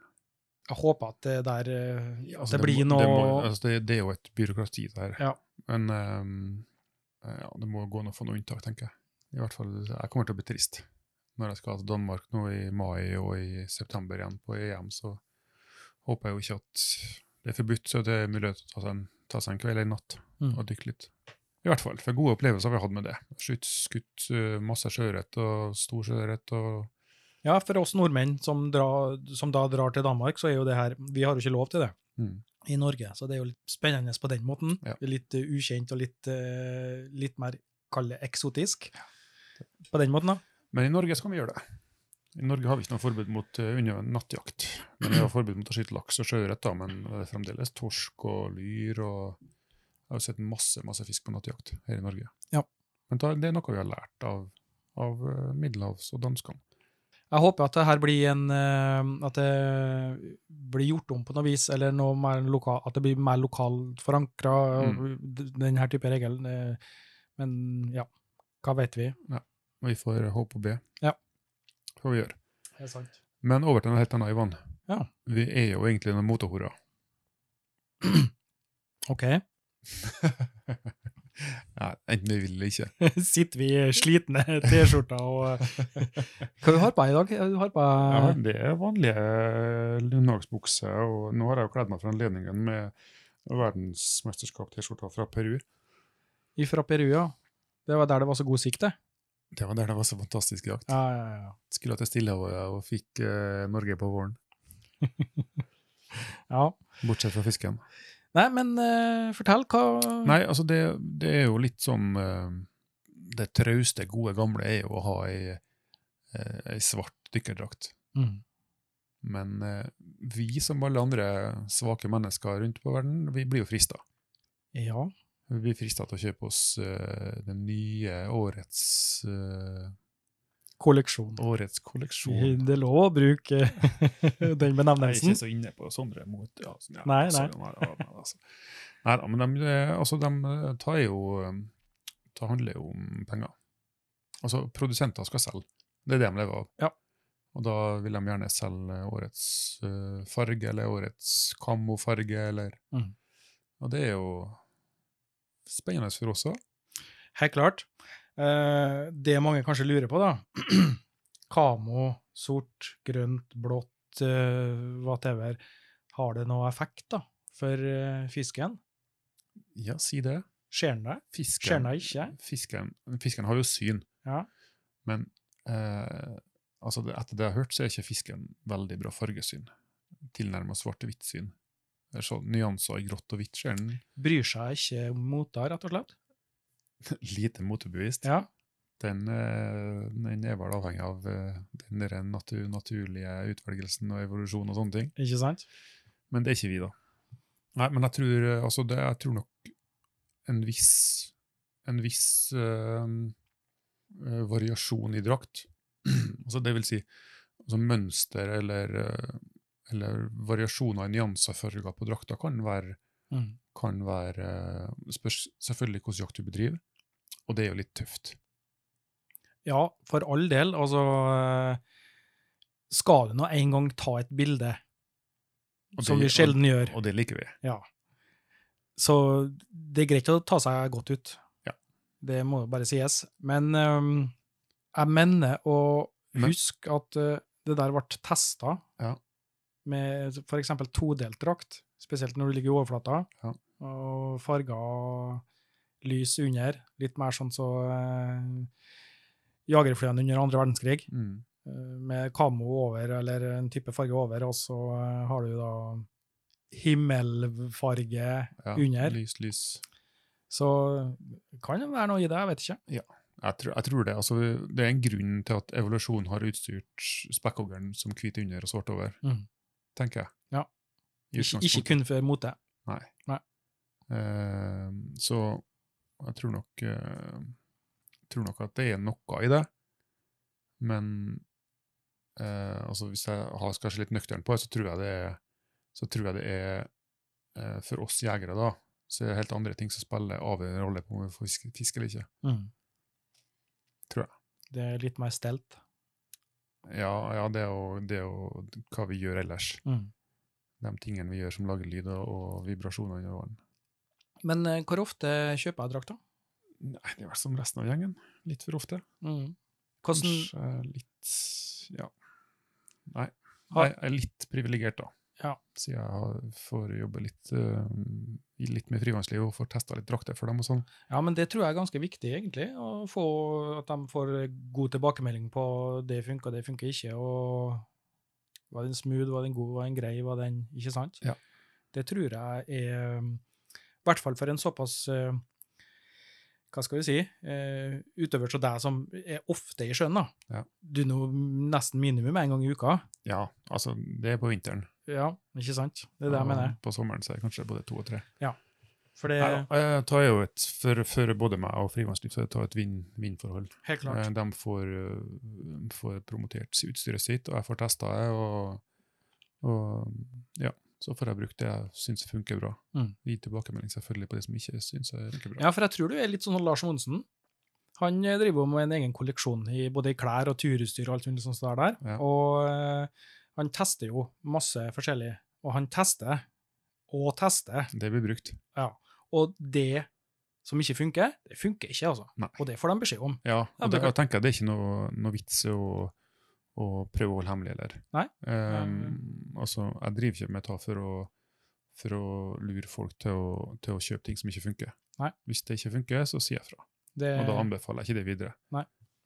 S1: Jeg håper at det der eh, at
S2: Altså,
S1: det blir
S2: må-
S1: noe
S2: Det, må, altså, det, det er jo et byråkrati, det her. eh,
S1: Ja.
S2: Men eh, ja, det må gå an å få noe unntak, tenker jeg. I hvert fall, jeg kommer til å bli trist. Når jeg skal til Danmark nå i mai og i september igjen på EM, så håper jeg jo ikke at det er forbudt, så det er mulighet til å ta seg en, ta seg en kveld eller en natt
S1: Mm.
S2: og dykke litt. I hvert fall, for gode opplevelser har vi hatt med det. Skutt, skutt eh, masse sjøørret og stor sjøørret og
S1: Ja, for oss nordmenn som, drar, som da drar til Danmark, så er jo det her Vi har jo ikke lov til det
S2: mm.
S1: i Norge, så det er jo litt spennende på den måten.
S2: Ja.
S1: Det er Litt eh, ukjent og litt, eh, litt mer, kall det eksotisk. På den måten, da.
S2: Men i Norge skal vi gjøre det. I Norge har vi ikke noe forbud mot eh, under nattjakt. Men vi har forbud mot å skyte laks og sjøørret, da, men det er fremdeles torsk og lyr og Jeg har jo sett masse masse fisk på nattjakt her i Norge.
S1: Ja.
S2: Men da, det er noe vi har lært av, av eh, middelhavs- og danskene.
S1: Jeg håper at det her blir en eh, At det blir gjort om på noe vis, eller noe mer loka, at det blir mer lokalt forankra, denne type regel. eh, Men ja, hva vet vi?
S2: Og vi får håpe og be.
S1: Ja.
S2: Får vi gjøre.
S1: Det er sant.
S2: Men over til noe helt annet, Ivan.
S1: Ja.
S2: Vi er jo egentlig noen motehorer.
S1: OK.
S2: Nei, enten vi vil eller ikke.
S1: Sitter vi i slitne T-skjorter og eh, Hva du har du på deg i dag? Du eh, har på
S2: Ja, det er vanlige lundhagsbukser, og nå har jeg jo kledd meg for anledningen med verdensmesterskap-T-skjorta fra Peru.
S1: Ifra Peru, ja. Det var der det var så god sikt, det.
S2: Det var der det var så fantastisk jakt.
S1: Ja, ja, ja.
S2: Skulle til Stillehavet og fikk eh, Norge på våren.
S1: ja.
S2: Bortsett fra fisken.
S1: Nei, men eh, fortell, hva
S2: Nei, altså det, det er jo litt sånn eh, Det trauste, gode gamle er jo å ha ei, eh, ei svart dykkerdrakt.
S1: Mm.
S2: Men eh, vi, som alle andre svake mennesker rundt på verden, vi blir jo frista.
S1: Ja.
S2: Vi blir frista til å kjøpe oss eh, den nye årets, eh,
S1: Kolleksjon.
S2: årets kolleksjon.
S1: Det er lov å bruke den
S2: Jeg er ikke
S1: benevnelsen.
S2: så inne på sånne mot... Ja, så- ja,
S1: Nei,
S2: sorry, nei, nei, altså. Nei da, men de, eh, altså, de eh, tar jo eh, Det handler jo om penger. Altså, produsenter skal selge. Det er det de lever av.
S1: Ja.
S2: Og da vil de gjerne selge årets eh, farge, eller årets kamofarge, eller
S1: Mhm.
S2: Og det er jo spennende for oss òg.
S1: Helt klart. Eh, det mange kanskje lurer på, da Kamo, sort, grønt, blått, eh, whatever. Har det noe effekt da, for eh, fisken?
S2: Ja, si det.
S1: Skjer den det?
S2: Fisken,
S1: Skjer den ikke?
S2: Fisken, fisken har jo syn,
S1: Ja.
S2: men eh, altså det, etter det jeg har hørt, så er ikke fisken veldig bra fargesyn. Tilnærmet svart-hvitt syn. Det er sånn nyanser i grått og hvitt skjer den
S1: Bryr seg ikke om mota, rett og slett?
S2: lite motebevisst.
S1: Ja.
S2: Den, eh, den er vel avhengig av eh, den der natu- naturlige utvelgelsen og evolusjon og sånne ting.
S1: Ikke sant?
S2: Men det er ikke vi, da. Nei, men jeg tror, eh, altså det, jeg tror nok en viss, en viss eh, eh, variasjon i drakt. altså det vil si altså mønster eller, eh, eller variasjoner i nyanser farger på drakta kan være,
S1: Mm.
S2: kan være eh, spørs selvfølgelig hvilken jakt du bedriver, og det er jo litt tøft.
S1: Ja, for all del. Altså eh, Skal du nå en gang ta et bilde,
S2: Og
S1: som vi
S2: det-
S1: sjelden gjør,
S2: Og det liker vi.
S1: Så det er greit å ta seg godt ut.
S2: Ja.
S1: Det må jo bare sies. Men øhm, jeg mener å
S2: Men-
S1: huske at øh, det der ble testa
S2: Ja.
S1: med f.eks. todelt drakt, spesielt når du ligger i overflata,
S2: Ja.
S1: og farger og lys under, litt mer sånn så øh, jagerflyene under andre verdenskrig,
S2: Mm.
S1: øh, med kamo over eller en type farge over, og så øh, har du da himmelfarge
S2: Ja,
S1: Under.
S2: Lys, lys.
S1: så eh, kan det være noe i det, jeg vet ikke.
S2: Jeg tror, jeg tror det. Altså, det er en grunn til at evolusjonen har utstyrt spekkhoggeren som hvit under og svart over,
S1: Mhm.
S2: tenker jeg.
S1: Ja.
S2: I
S1: Ikke, ikke
S2: utgangspunktet.
S1: kun for mote.
S2: Eh, så jeg tror nok, eh, tror nok at det er noe i det. Men eh, altså hvis jeg har, skal se litt nøktern på det, så tror jeg det er, så tror jeg det er eh, For oss jegere, da, så er det helt andre ting som spiller avgjørende rolle på om vi får fisk, fisk eller ikke. Tror jeg.
S1: Det er litt mer stelt.
S2: Ja, ja det, er jo, det er jo hva vi gjør ellers. de tingene vi gjør som lager lyd og, og vibrasjoner under vann.
S1: Men eh, hvor ofte kjøper jeg drakt, da?
S2: Nei, det er vel som resten av gjengen. Litt for ofte.
S1: Mm. Hvordan,
S2: Kanskje litt Ja. Nei.
S1: Har-
S2: Jeg er litt privilegert, da.
S1: Ja.
S2: Siden jeg har- får jobbe litt, eh, i litt med frivannsliv og får testa litt drakter for dem og sånn.
S1: Ja, men det tror jeg er ganske viktig, egentlig. Å få, at de får god tilbakemelding på det funka, det funka ikke, og var den smooth, var den god, var den grei, var den Ikke sant?
S2: Ja.
S1: Det tror jeg er I hvert fall for en såpass eh, hva skal vi si, eh, utøver som deg, som er ofte i sjøen, da.
S2: Ja.
S1: Du er nå nesten minimum en gang i uka.
S2: Ja, altså, det er på vinteren.
S1: Ja, ikke sant? Det er det jeg mener.
S2: På sommeren så er det kanskje både to og tre.
S1: For det
S2: Nei, da, jeg tar jo et, for, for både meg og frivannsliv så jeg tar et vinn- vinn-forhold.
S1: helt klart.
S2: Eh, De får, eh, får promotert si- utstyret sitt, og jeg får testa det. Og, og ja, så får jeg brukt det jeg syns funker bra.
S1: Mm.
S2: Gi tilbakemelding selvfølgelig på det som ikke syns funker bra.
S1: Ja, for jeg tror du er litt sånn som Lars Monsen. Han eh, driver jo med en egen kolleksjon i både i klær og turutstyr og alt mulig sånt der. der.
S2: Ja.
S1: Og eh, han tester jo masse forskjellig. Og han tester og tester.
S2: Det blir brukt.
S1: Og det som ikke funker, det funker ikke, altså.
S2: Nei.
S1: Og det får de beskjed om.
S2: Ja,
S1: Ja,
S2: og det,
S1: bra.
S2: jeg tenker det er ikke noe, noe vits å, å prøve å holde hemmelig heller.
S1: Nei.
S2: Ehm, altså, jeg driver ikke med det for å, for å lure folk til å, til å kjøpe ting som ikke funker.
S1: Nei. Eh.
S2: Hvis det ikke funker, så sier jeg fra.
S1: Det
S2: Og da anbefaler jeg ikke det videre.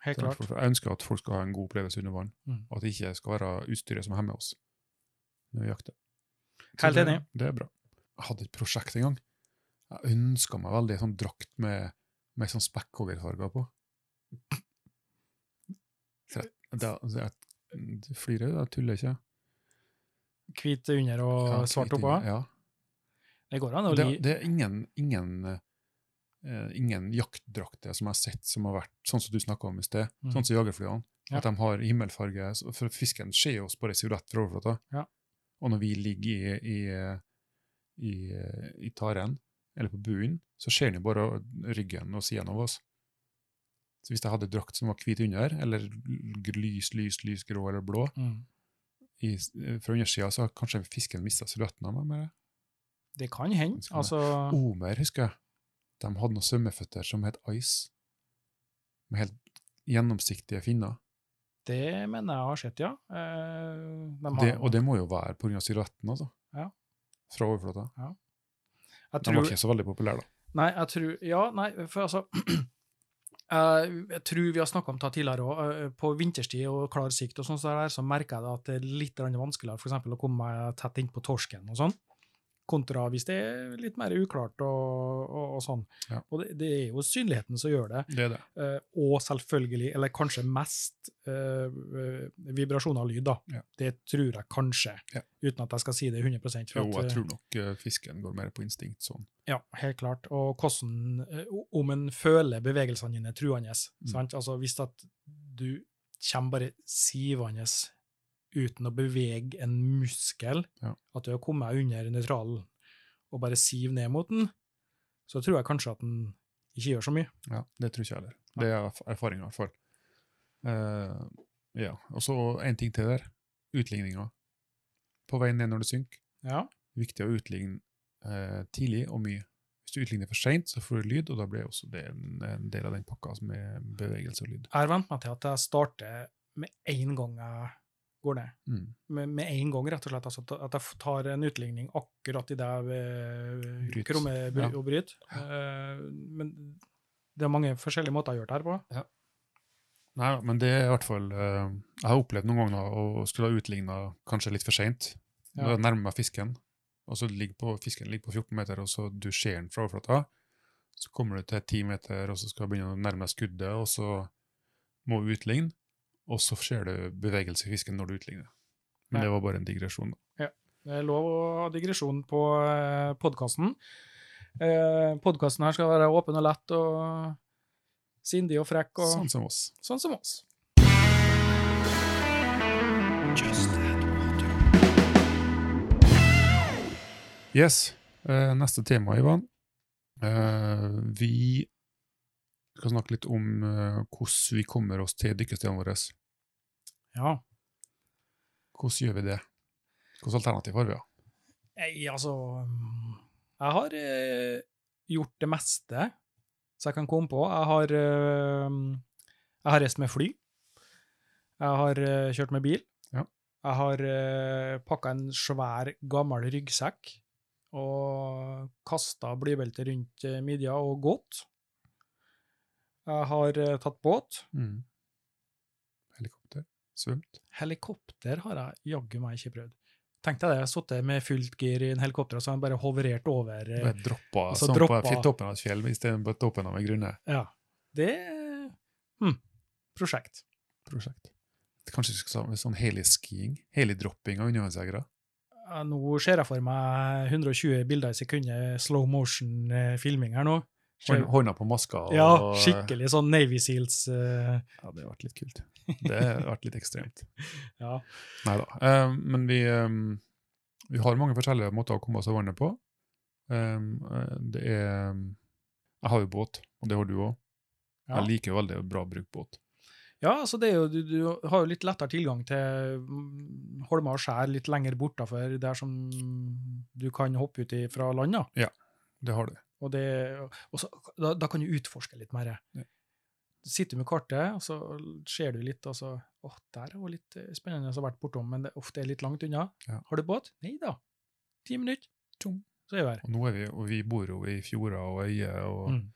S1: helt klart.
S2: For Jeg ønsker Sånn at folk skal ha en god opplevelse under vann,
S1: Mm.
S2: og at det ikke skal være utstyret som hemmer oss når vi jakter. Så
S1: Helt
S2: det-
S1: enig.
S2: Det er bra. Jeg hadde et prosjekt en gang. Jeg ønska meg veldig en sånn drakt med, med sånn spekkhoggerfarger på. Så jeg, da, så jeg du flirer, jeg tuller ikke.
S1: Hvit under og
S2: Ja,
S1: svart
S2: hvit
S1: oppå.
S2: inne, Ja.
S1: Det går an å li...
S2: Det, det er ingen, ingen, eh, ingen jaktdrakter som jeg har sett som har vært sånn som du snakka om i sted,
S1: Mhm.
S2: sånn som jagerflyene.
S1: Ja.
S2: At de har himmelfarge. så- For fisken ser oss bare i silhuett fra overflata.
S1: Ja.
S2: Og når vi ligger i, i, i, i taren, eller på buen, så ser den jo bare ryggen og siden av oss. Så hvis jeg hadde drakt som var hvit under, eller l- lys, lys, lys grå eller blå,
S1: Mm.
S2: i, s- eh, fra undersida, så har kanskje fisken mista silhuetten av meg. med det.
S1: Det kan hende.
S2: Sånn Skal vi-
S1: Altså
S2: Omer, husker jeg. De hadde noen svømmeføtter som het Ice. Med helt gjennomsiktige finner.
S1: Det mener jeg har sett, ja. Eh, de har,
S2: Det, og det må jo være pga. silhuetten, altså.
S1: Ja.
S2: Fra overflata.
S1: jeg
S2: De var ikke så veldig populære, da.
S1: Nei, jeg tror Ja, nei, for altså eh, Jeg tror vi har snakka om det tidligere òg. På vinterstid og klar sikt og sånn så der, så merker jeg da at det er litt grann vanskeligere for eksempel å komme meg tett innpå torsken og sånn, kontra hvis det er litt mer uklart og, og, og sånn.
S2: Ja.
S1: Og det, det er jo synligheten som gjør det.
S2: Det er det.
S1: Eh, og selvfølgelig, eller kanskje mest, eh, eh, vibrasjon av lyd, da.
S2: Ja.
S1: Det tror jeg kanskje,
S2: Ja.
S1: uten at jeg skal si det 100 for
S2: Jo,
S1: at, eh,
S2: jeg tror nok eh, fisken går mer på instinkt sånn.
S1: Ja, helt klart. Og hvordan, eh, o- om en føler bevegelsene dine truende. Sant? Altså, hvis at du kommer bare sivende uten å bevege en muskel,
S2: Ja.
S1: at du har kommet under nøytralen og bare siv ned mot den, så tror jeg kanskje at den ikke gjør så mye.
S2: Ja, Det tror ikke jeg heller. Det er erf- erfaring, i hvert fall. Eh, ja. Og så én ting til der. Utligninga. På vei ned når det synker.
S1: Ja,
S2: viktig å utligne eh, tidlig og mye. Hvis du utligner for seint, så får du lyd, og da blir også det en, en del av den pakka som er bevegelse og lyd.
S1: jeg har vent meg til at jeg starter med en gang jeg går ned.
S2: Mm.
S1: Med, med en gang, rett og slett. Altså, at- at jeg f- tar en utligning akkurat idet jeg eh,
S2: Bryt.
S1: krummer bry-
S2: Ja.
S1: og bryter. Eh, men det er mange forskjellige måter å gjøre det her på.
S2: Nei, men det er i hvert fall eh, Jeg har opplevd noen ganger å å skulle ha utligna kanskje litt for seint. Når
S1: Ja.
S2: jeg nærmer meg fisken, og så ligger på, fisken ligger på 14 meter, og så du ser den fra overflata, så kommer du til 10 meter, og så skal du begynne å nærme deg skuddet, og så må du utligne, og så ser du bevegelse i fisken når du utligner.
S1: Ja.
S2: Men det var bare en digresjon. da.
S1: Det er lov å ha digresjon på eh, podkasten. Eh, podkasten her skal være åpen og lett og sindig og frekk og
S2: Sånn som oss.
S1: sånn som oss.
S2: Yes. Eh, neste tema, Ivan. Eh, vi skal snakke litt om eh, hvordan vi kommer oss til dykkestedene våre.
S1: Ja.
S2: Hvordan gjør vi det? Hvilke alternativ har vi? da?
S1: Nei, altså mm, Jeg har eh, gjort det eh, meste. Så jeg kan komme på. Jeg har, eh, jeg har reist med fly. Jeg har eh, kjørt med bil.
S2: Ja.
S1: Jeg har uh, pakka en svær, gammel ryggsekk og kasta blybeltet rundt eh, midja og gått. Jeg har eh, tatt båt.
S2: Mm. Helikopter. Svømt.
S1: Helikopter har jeg jaggu meg ikke prøvd. Tenk deg det, jeg har sittet med fullt gir i en helikopter, og så har han bare hoverert over eh,
S2: Bare droppa
S1: altså,
S2: sånn
S1: droppa-
S2: på toppen av et fjell istedenfor på toppen av en grunne.
S1: Ja. Det hm, Prosjekt.
S2: Prosjekt. Kanskje vi skal ha sånn heli-skiing? Heli-dropping av undervannsjegere?
S1: Ja, Nå ser jeg for meg 120 bilder i sekundet, slow motion-filming her nå.
S2: Hånd- Hånda på maska? Og,
S1: Ja, skikkelig sånn Navy Seals. eh,
S2: Ja, det har vært litt kult. Det har vært litt ekstremt.
S1: Ja.
S2: Nei da. men vi, ehm, vi har mange forskjellige måter å komme oss av vannet på. Ehm, eh, det er Jeg har jo båt, og det har du òg.
S1: Ja.
S2: Jeg liker jo veldig bra å bruke båt.
S1: Ja, altså det er jo, du, du har jo litt lettere tilgang til mm, holmer og skjær litt lenger bortafor, der som du kan hoppe ut i fra land. da.
S2: Det har du.
S1: Og det, og så, da, da kan du utforske litt mer.
S2: Ja.
S1: Sitter du med kartet, og så ser du litt, og så Å, der er jo litt eh, spennende å ha vært bortom, men det ofte er litt langt unna.
S2: Ja.
S1: Har du båt? Nei da. Ti minutter,
S2: Tjong.
S1: så er vi her.
S2: Og nå er vi, og vi bor jo i fjorder og øyer, og,
S1: Mm.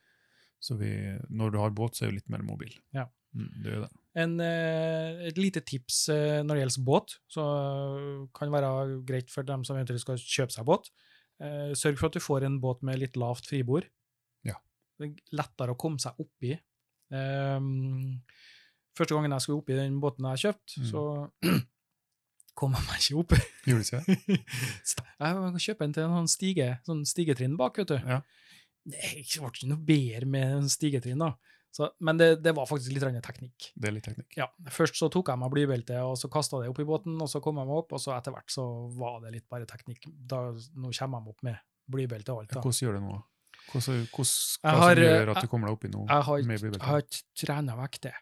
S2: så vi, når du har båt, så er du litt mer mobil.
S1: Ja.
S2: Mm, det er det.
S1: En, eh, et lite tips eh, når det gjelder båt, så eh, kan være greit for dem som eventuelt skal kjøpe seg båt. Eh, sørg for at du får en båt med litt lavt fribord.
S2: Ja.
S1: Det er lettere å komme seg oppi. Ehm, første gangen jeg skulle oppi den båten jeg kjøpte,
S2: Mm.
S1: så kom jeg meg ikke opp.
S2: Gjorde du ikke?
S1: Sta- Jeg må kjøpe en til en sånn stige, sånn stigetrinn bak, vet du.
S2: Ja.
S1: Nei, det ble ikke noe bedre med en stigetrinn, da. Så, men det, det var faktisk litt grann teknikk.
S2: Det er litt teknikk.
S1: Ja, først så tok jeg meg blybeltet, og så kasta det opp i båten, og så kom jeg meg opp, og så etter hvert så var det litt bare teknikk. Da, nå kommer jeg meg opp med blybelte og alt, da.
S2: Hvordan gjør du det nå? Hvordan, hvordan, hva
S1: Jeg har,
S2: som gjør at
S1: eh,
S2: du kommer deg oppi nå?
S1: Jeg har,
S2: med
S1: ikke-
S2: blybelte?
S1: jeg har ikke trena vekk det.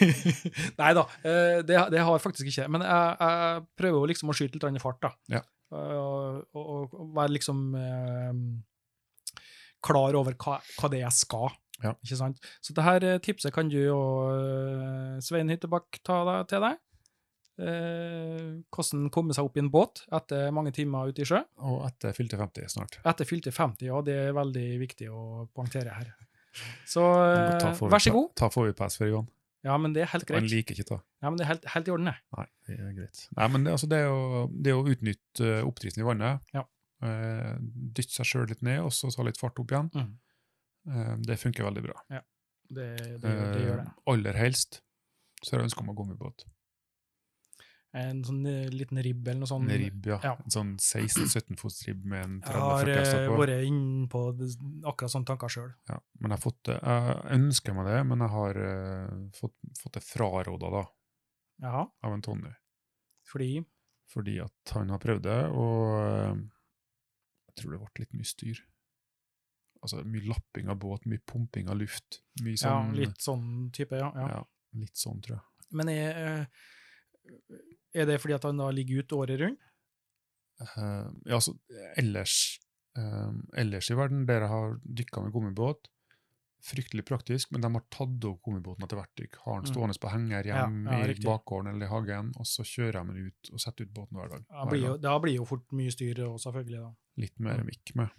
S1: Nei da, eh, det, det har jeg faktisk ikke. Men jeg, jeg prøver jo liksom å skyte litt grann i fart, da. Eh,
S2: Ja.
S1: Og, og, og være liksom eh, klar over hva, hva det er jeg skal.
S2: Ja.
S1: Ikke sant? Så det her eh, tipset kan du og eh, Svein Hyttebakk ta deg, til deg. Eh, hvordan komme seg opp i en båt etter mange timer ute i sjø.
S2: Og etter fylte 50 snart.
S1: Etter fylte 50, ja, det er veldig viktig å poengtere her. Så
S2: Men ta
S1: eh,
S2: får vi
S1: vær så
S2: pa-
S1: god.
S2: Ta forvipes for Johan.
S1: Ja, men det er helt
S2: Han
S1: greit.
S2: liker ikke ta.
S1: Ja, men det er helt, helt i orden, det.
S2: Nei, det er greit. Nei, men det, altså, det, er, jo, det er å utnytte eh, oppdriften i vannet.
S1: Ja.
S2: Eh, dytte seg sjøl litt ned, og så ta litt fart opp igjen.
S1: Mm.
S2: Eh, det funker veldig bra.
S1: Det, det, gjør- det gjør det.
S2: Eh, aller helst så har jeg ønske om å gummibåt.
S1: En sånn eh, liten ribb eller noe sånt.
S2: En ribb, ja.
S1: ja.
S2: En sånn 16-17 fots ribb med en
S1: Jeg har
S2: 30-40 hester
S1: eh,
S2: på.
S1: vært inne på det- akkurat sånne tanker sjøl.
S2: Ja, men jeg har fått det. Jeg ønsker meg det, men jeg har eh, fått, fått det fraråda da,
S1: Ja,
S2: av en Tony.
S1: fordi
S2: Fordi at han har prøvd det, og eh, jeg tror det ble litt mye styr. Altså mye lapping av båt, mye pumping av luft. Mye
S1: Ja,
S2: sånn,
S1: litt sånn type, ja. ja.
S2: ja, litt sånn, tror jeg.
S1: Men er, eh, er det fordi at han da ligger ute året rundt?
S2: Eh, ja, altså, ellers, eh, ellers i verden, der jeg har dykka med gummibåt, fryktelig praktisk, men de har tatt opp gummibåten etter hvert dykk. Har den
S1: Mm.
S2: stående på henger
S1: Ja,
S2: hjemme
S1: ja,
S2: i
S1: riktig.
S2: bakgården eller i hagen, og så kjører jeg den ut og setter ut båten hver dag.
S1: Da
S2: Hver
S1: blir jo,
S2: gang.
S1: da blir jo fort mye styr, og selvfølgelig. da.
S2: Litt mer mikk med.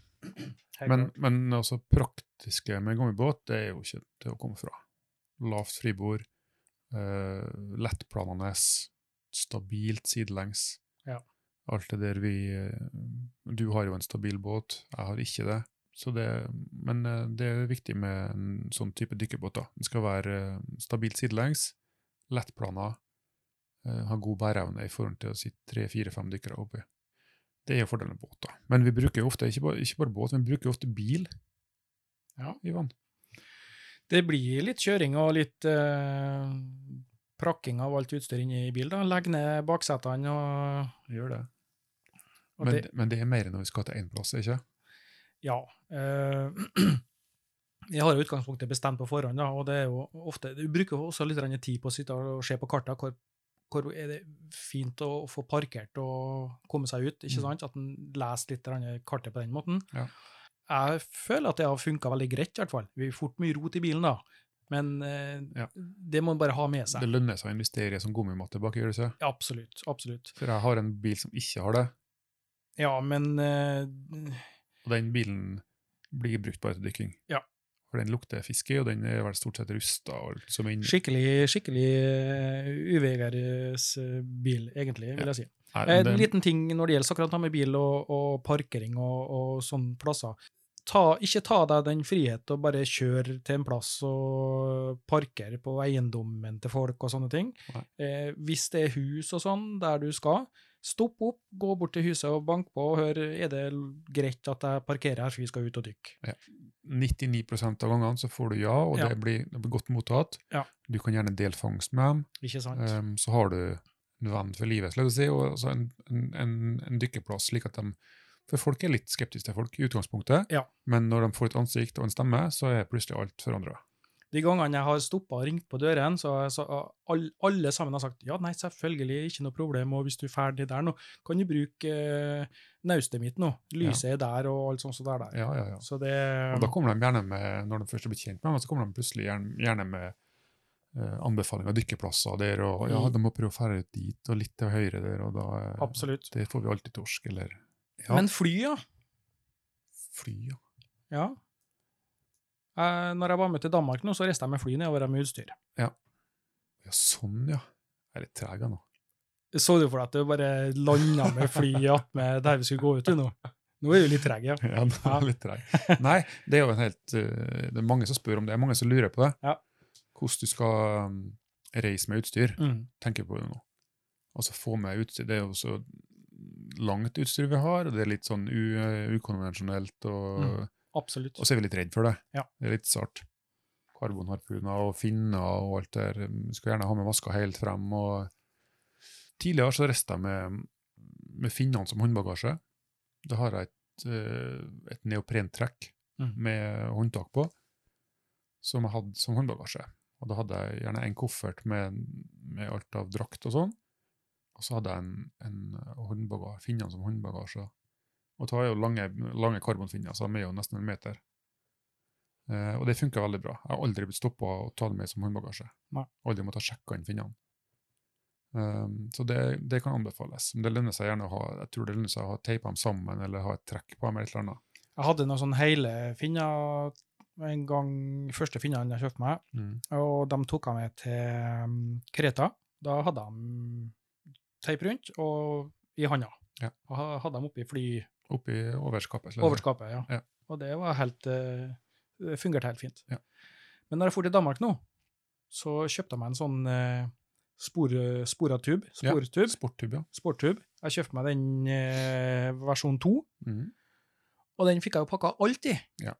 S1: Helt
S2: Men,
S1: klart.
S2: men altså praktiske med gummibåt, det er jo ikke til å komme fra. Lavt fribord, eh, lettplanende, stabilt sidelengs.
S1: Ja.
S2: Alt det der vi eh, Du har jo en stabil båt, jeg har ikke det. Så det men eh, det er viktig med en sånn type dykkerbåt. da. Den skal være eh, stabilt sidelengs, lettplana, eh, ha god bæreevne i forhold til å sitte tre-fire-fem dykkere oppi. Det er jo fordelen med båt, da. Men vi bruker jo ofte ikke bare, ikke bare båt, men vi bruker jo ofte bil
S1: Ja.
S2: i vann.
S1: Det blir litt kjøring og litt eh, prakking av alt utstyr inne i bilen. da. Legg ned baksetene og,
S2: Gjør det.
S1: og
S2: Men,
S1: det,
S2: det, men det er mer når vi skal til én plass, ikke?
S1: Ja. eh, jeg har jo utgangspunktet bestemt på forhånd, da, og det er jo ofte Du bruker jo også litt grann tid på å sitte og se på kartene. Hvor, hvor er det fint å få parkert og komme seg ut? ikke
S2: Mm.
S1: sant? At en leser litt grann kartet på den måten.
S2: Ja.
S1: jeg føler at det har funka veldig greit, i hvert fall. Vi får fort mye rot i bilen, da. Men eh,
S2: Ja.
S1: det må en bare ha med seg.
S2: Det lønner seg å investere som gummimatte bak gjør det seg.
S1: Absolutt. Absolutt.
S2: For jeg har en bil som ikke har det,
S1: Ja, men
S2: Mm.
S1: eh,
S2: og den bilen blir brukt bare til dykking.
S1: Ja.
S2: For den lukter fiske, og den er vel stort sett rusta og alt som er inni.
S1: skikkelig, skikkelig eh, uvegeres eh, bil, egentlig, vil
S2: Ja.
S1: jeg si.
S2: Nei, men
S1: En
S2: den-
S1: Eh, liten ting når det gjelder akkurat det med bil og, og parkering og, og sånne plasser. Ta, ikke ta deg den frihet og bare kjøre til en plass og parkere på eiendommen til folk og sånne ting.
S2: Nei.
S1: Eh, hvis det er hus og sånn der du skal, stopp opp, gå bort til huset og bank på og hør er det greit at jeg parkerer her for vi skal ut og dykke.
S2: 99 av gangene så får du ja, og
S1: Ja.
S2: det, blir, det blir godt mottatt.
S1: Ja.
S2: Du kan gjerne dele fangst med dem.
S1: Ikke sant?
S2: Ehm, så har du en venn for livet, skal jeg si, og også en, en, en, en dykkeplass. slik at de, For folk er litt skeptiske til folk i utgangspunktet,
S1: Ja.
S2: men når de får et ansikt og en stemme, så er plutselig alt forandra.
S1: De gangene jeg har stoppa og ringt på dørene, så, har jeg sa- all, alle sammen har sagt ja, nei, selvfølgelig, ikke noe problem, og hvis du er ferdig der nå, kan du bruke eh, naustet mitt nå. Lyset er der, og alt sånt som det er der.
S2: Ja, ja, ja.
S1: Så det
S2: Og da kommer de gjerne med, når de først er blitt kjent med dem, så kommer de plutselig gjerne, gjerne med eh, anbefaling av dykkeplasser der, og ja,
S1: Mm.
S2: de må prøve å ferde ut dit, og litt til høyre der, og da eh,
S1: Absolutt.
S2: Det får vi alltid torsk, eller ja,
S1: Men fly, ja.
S2: fly, ja.
S1: ja. Eh, når jeg var med til Danmark nå, så reiste jeg med fly nedover med utstyr.
S2: ja. Sånn, ja. Jeg er litt treg jeg nå.
S1: Så du for deg at du bare landa med fly attmed der vi skulle gå ut til nå? Nå er du litt treg, ja.
S2: Ja, nå
S1: Ja.
S2: er jeg litt treg. Nei, det er jo en helt eh, Det er mange som spør om det, det er mange som lurer på det.
S1: Ja.
S2: Hvordan du skal um, reise med utstyr.
S1: Mm.
S2: Tenker på det nå. Altså få med utstyr. Det er jo så langt utstyr vi har, og det er litt sånn u, ukonvensjonelt, og,
S1: Mm. Absolutt.
S2: og så er vi litt redd for det.
S1: Ja.
S2: Det er litt sart. Karbonharpuner og finner og alt der. um, Skal gjerne ha med maska helt frem. og Tidligere så reiste jeg med, med finnene som håndbagasje. Da har jeg et, eh, et neoprentrekk
S1: Mm.
S2: med håndtak på, som jeg hadde som håndbagasje. Og da hadde jeg gjerne en koffert med, med alt av drakt og sånn, og så hadde jeg en, en håndbagasje, finnene som håndbagasje. Og da er jo lange, lange karbonfinner, så de er jo nesten en meter. Eh, og det funka veldig bra. Jeg har aldri blitt stoppa å ta det med som håndbagasje.
S1: Nei.
S2: Aldri måttet sjekke inn finnene. Um, så det, det kan anbefales. Men det lønner seg gjerne å ha jeg tror det lønner seg å ha teipa dem sammen eller ha et trekk på dem. eller et eller annet.
S1: Jeg hadde noen sånn hele finner en gang, første finnene jeg kjøpte meg, og de tok jeg med til um, Kreta. Da hadde de teip rundt og i handa.
S2: Ja.
S1: Og ha- hadde dem oppi flyoverskapet,
S2: Oppi overskapet. eller-
S1: ja.
S2: Ja.
S1: Og det var helt, eh, det fungerte helt fint.
S2: Ja.
S1: Men når jeg dro til Danmark nå, så kjøpte jeg meg en sånn eh, spor, eh, sporatub,
S2: Ja.
S1: sportub,
S2: Sporttube, ja.
S1: sporttub. Jeg kjøpte meg den eh, versjon 2,
S2: Mhm.
S1: og den fikk jeg jo pakka alt i.
S2: Ja.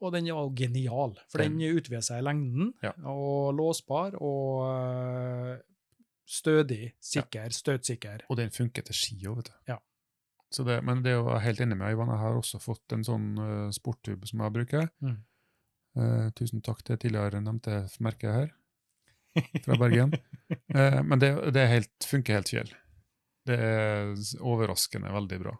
S1: Og den var jo genial, for den utvider seg i lengden,
S2: Ja.
S1: og låsbar og øh, stødig, sikker, støtsikker.
S2: Og den funker til ski òg, vet du.
S1: Ja.
S2: Så det, men det er jo jeg helt enig med Ivan. Jeg har også fått en sånn eh, sporttube som jeg bruker.
S1: Mhm.
S2: Eh, tusen takk til tidligere nevnte merket her, fra Bergen. Eh, men det, det er helt, funker helt fjell. Det er s- overraskende veldig bra.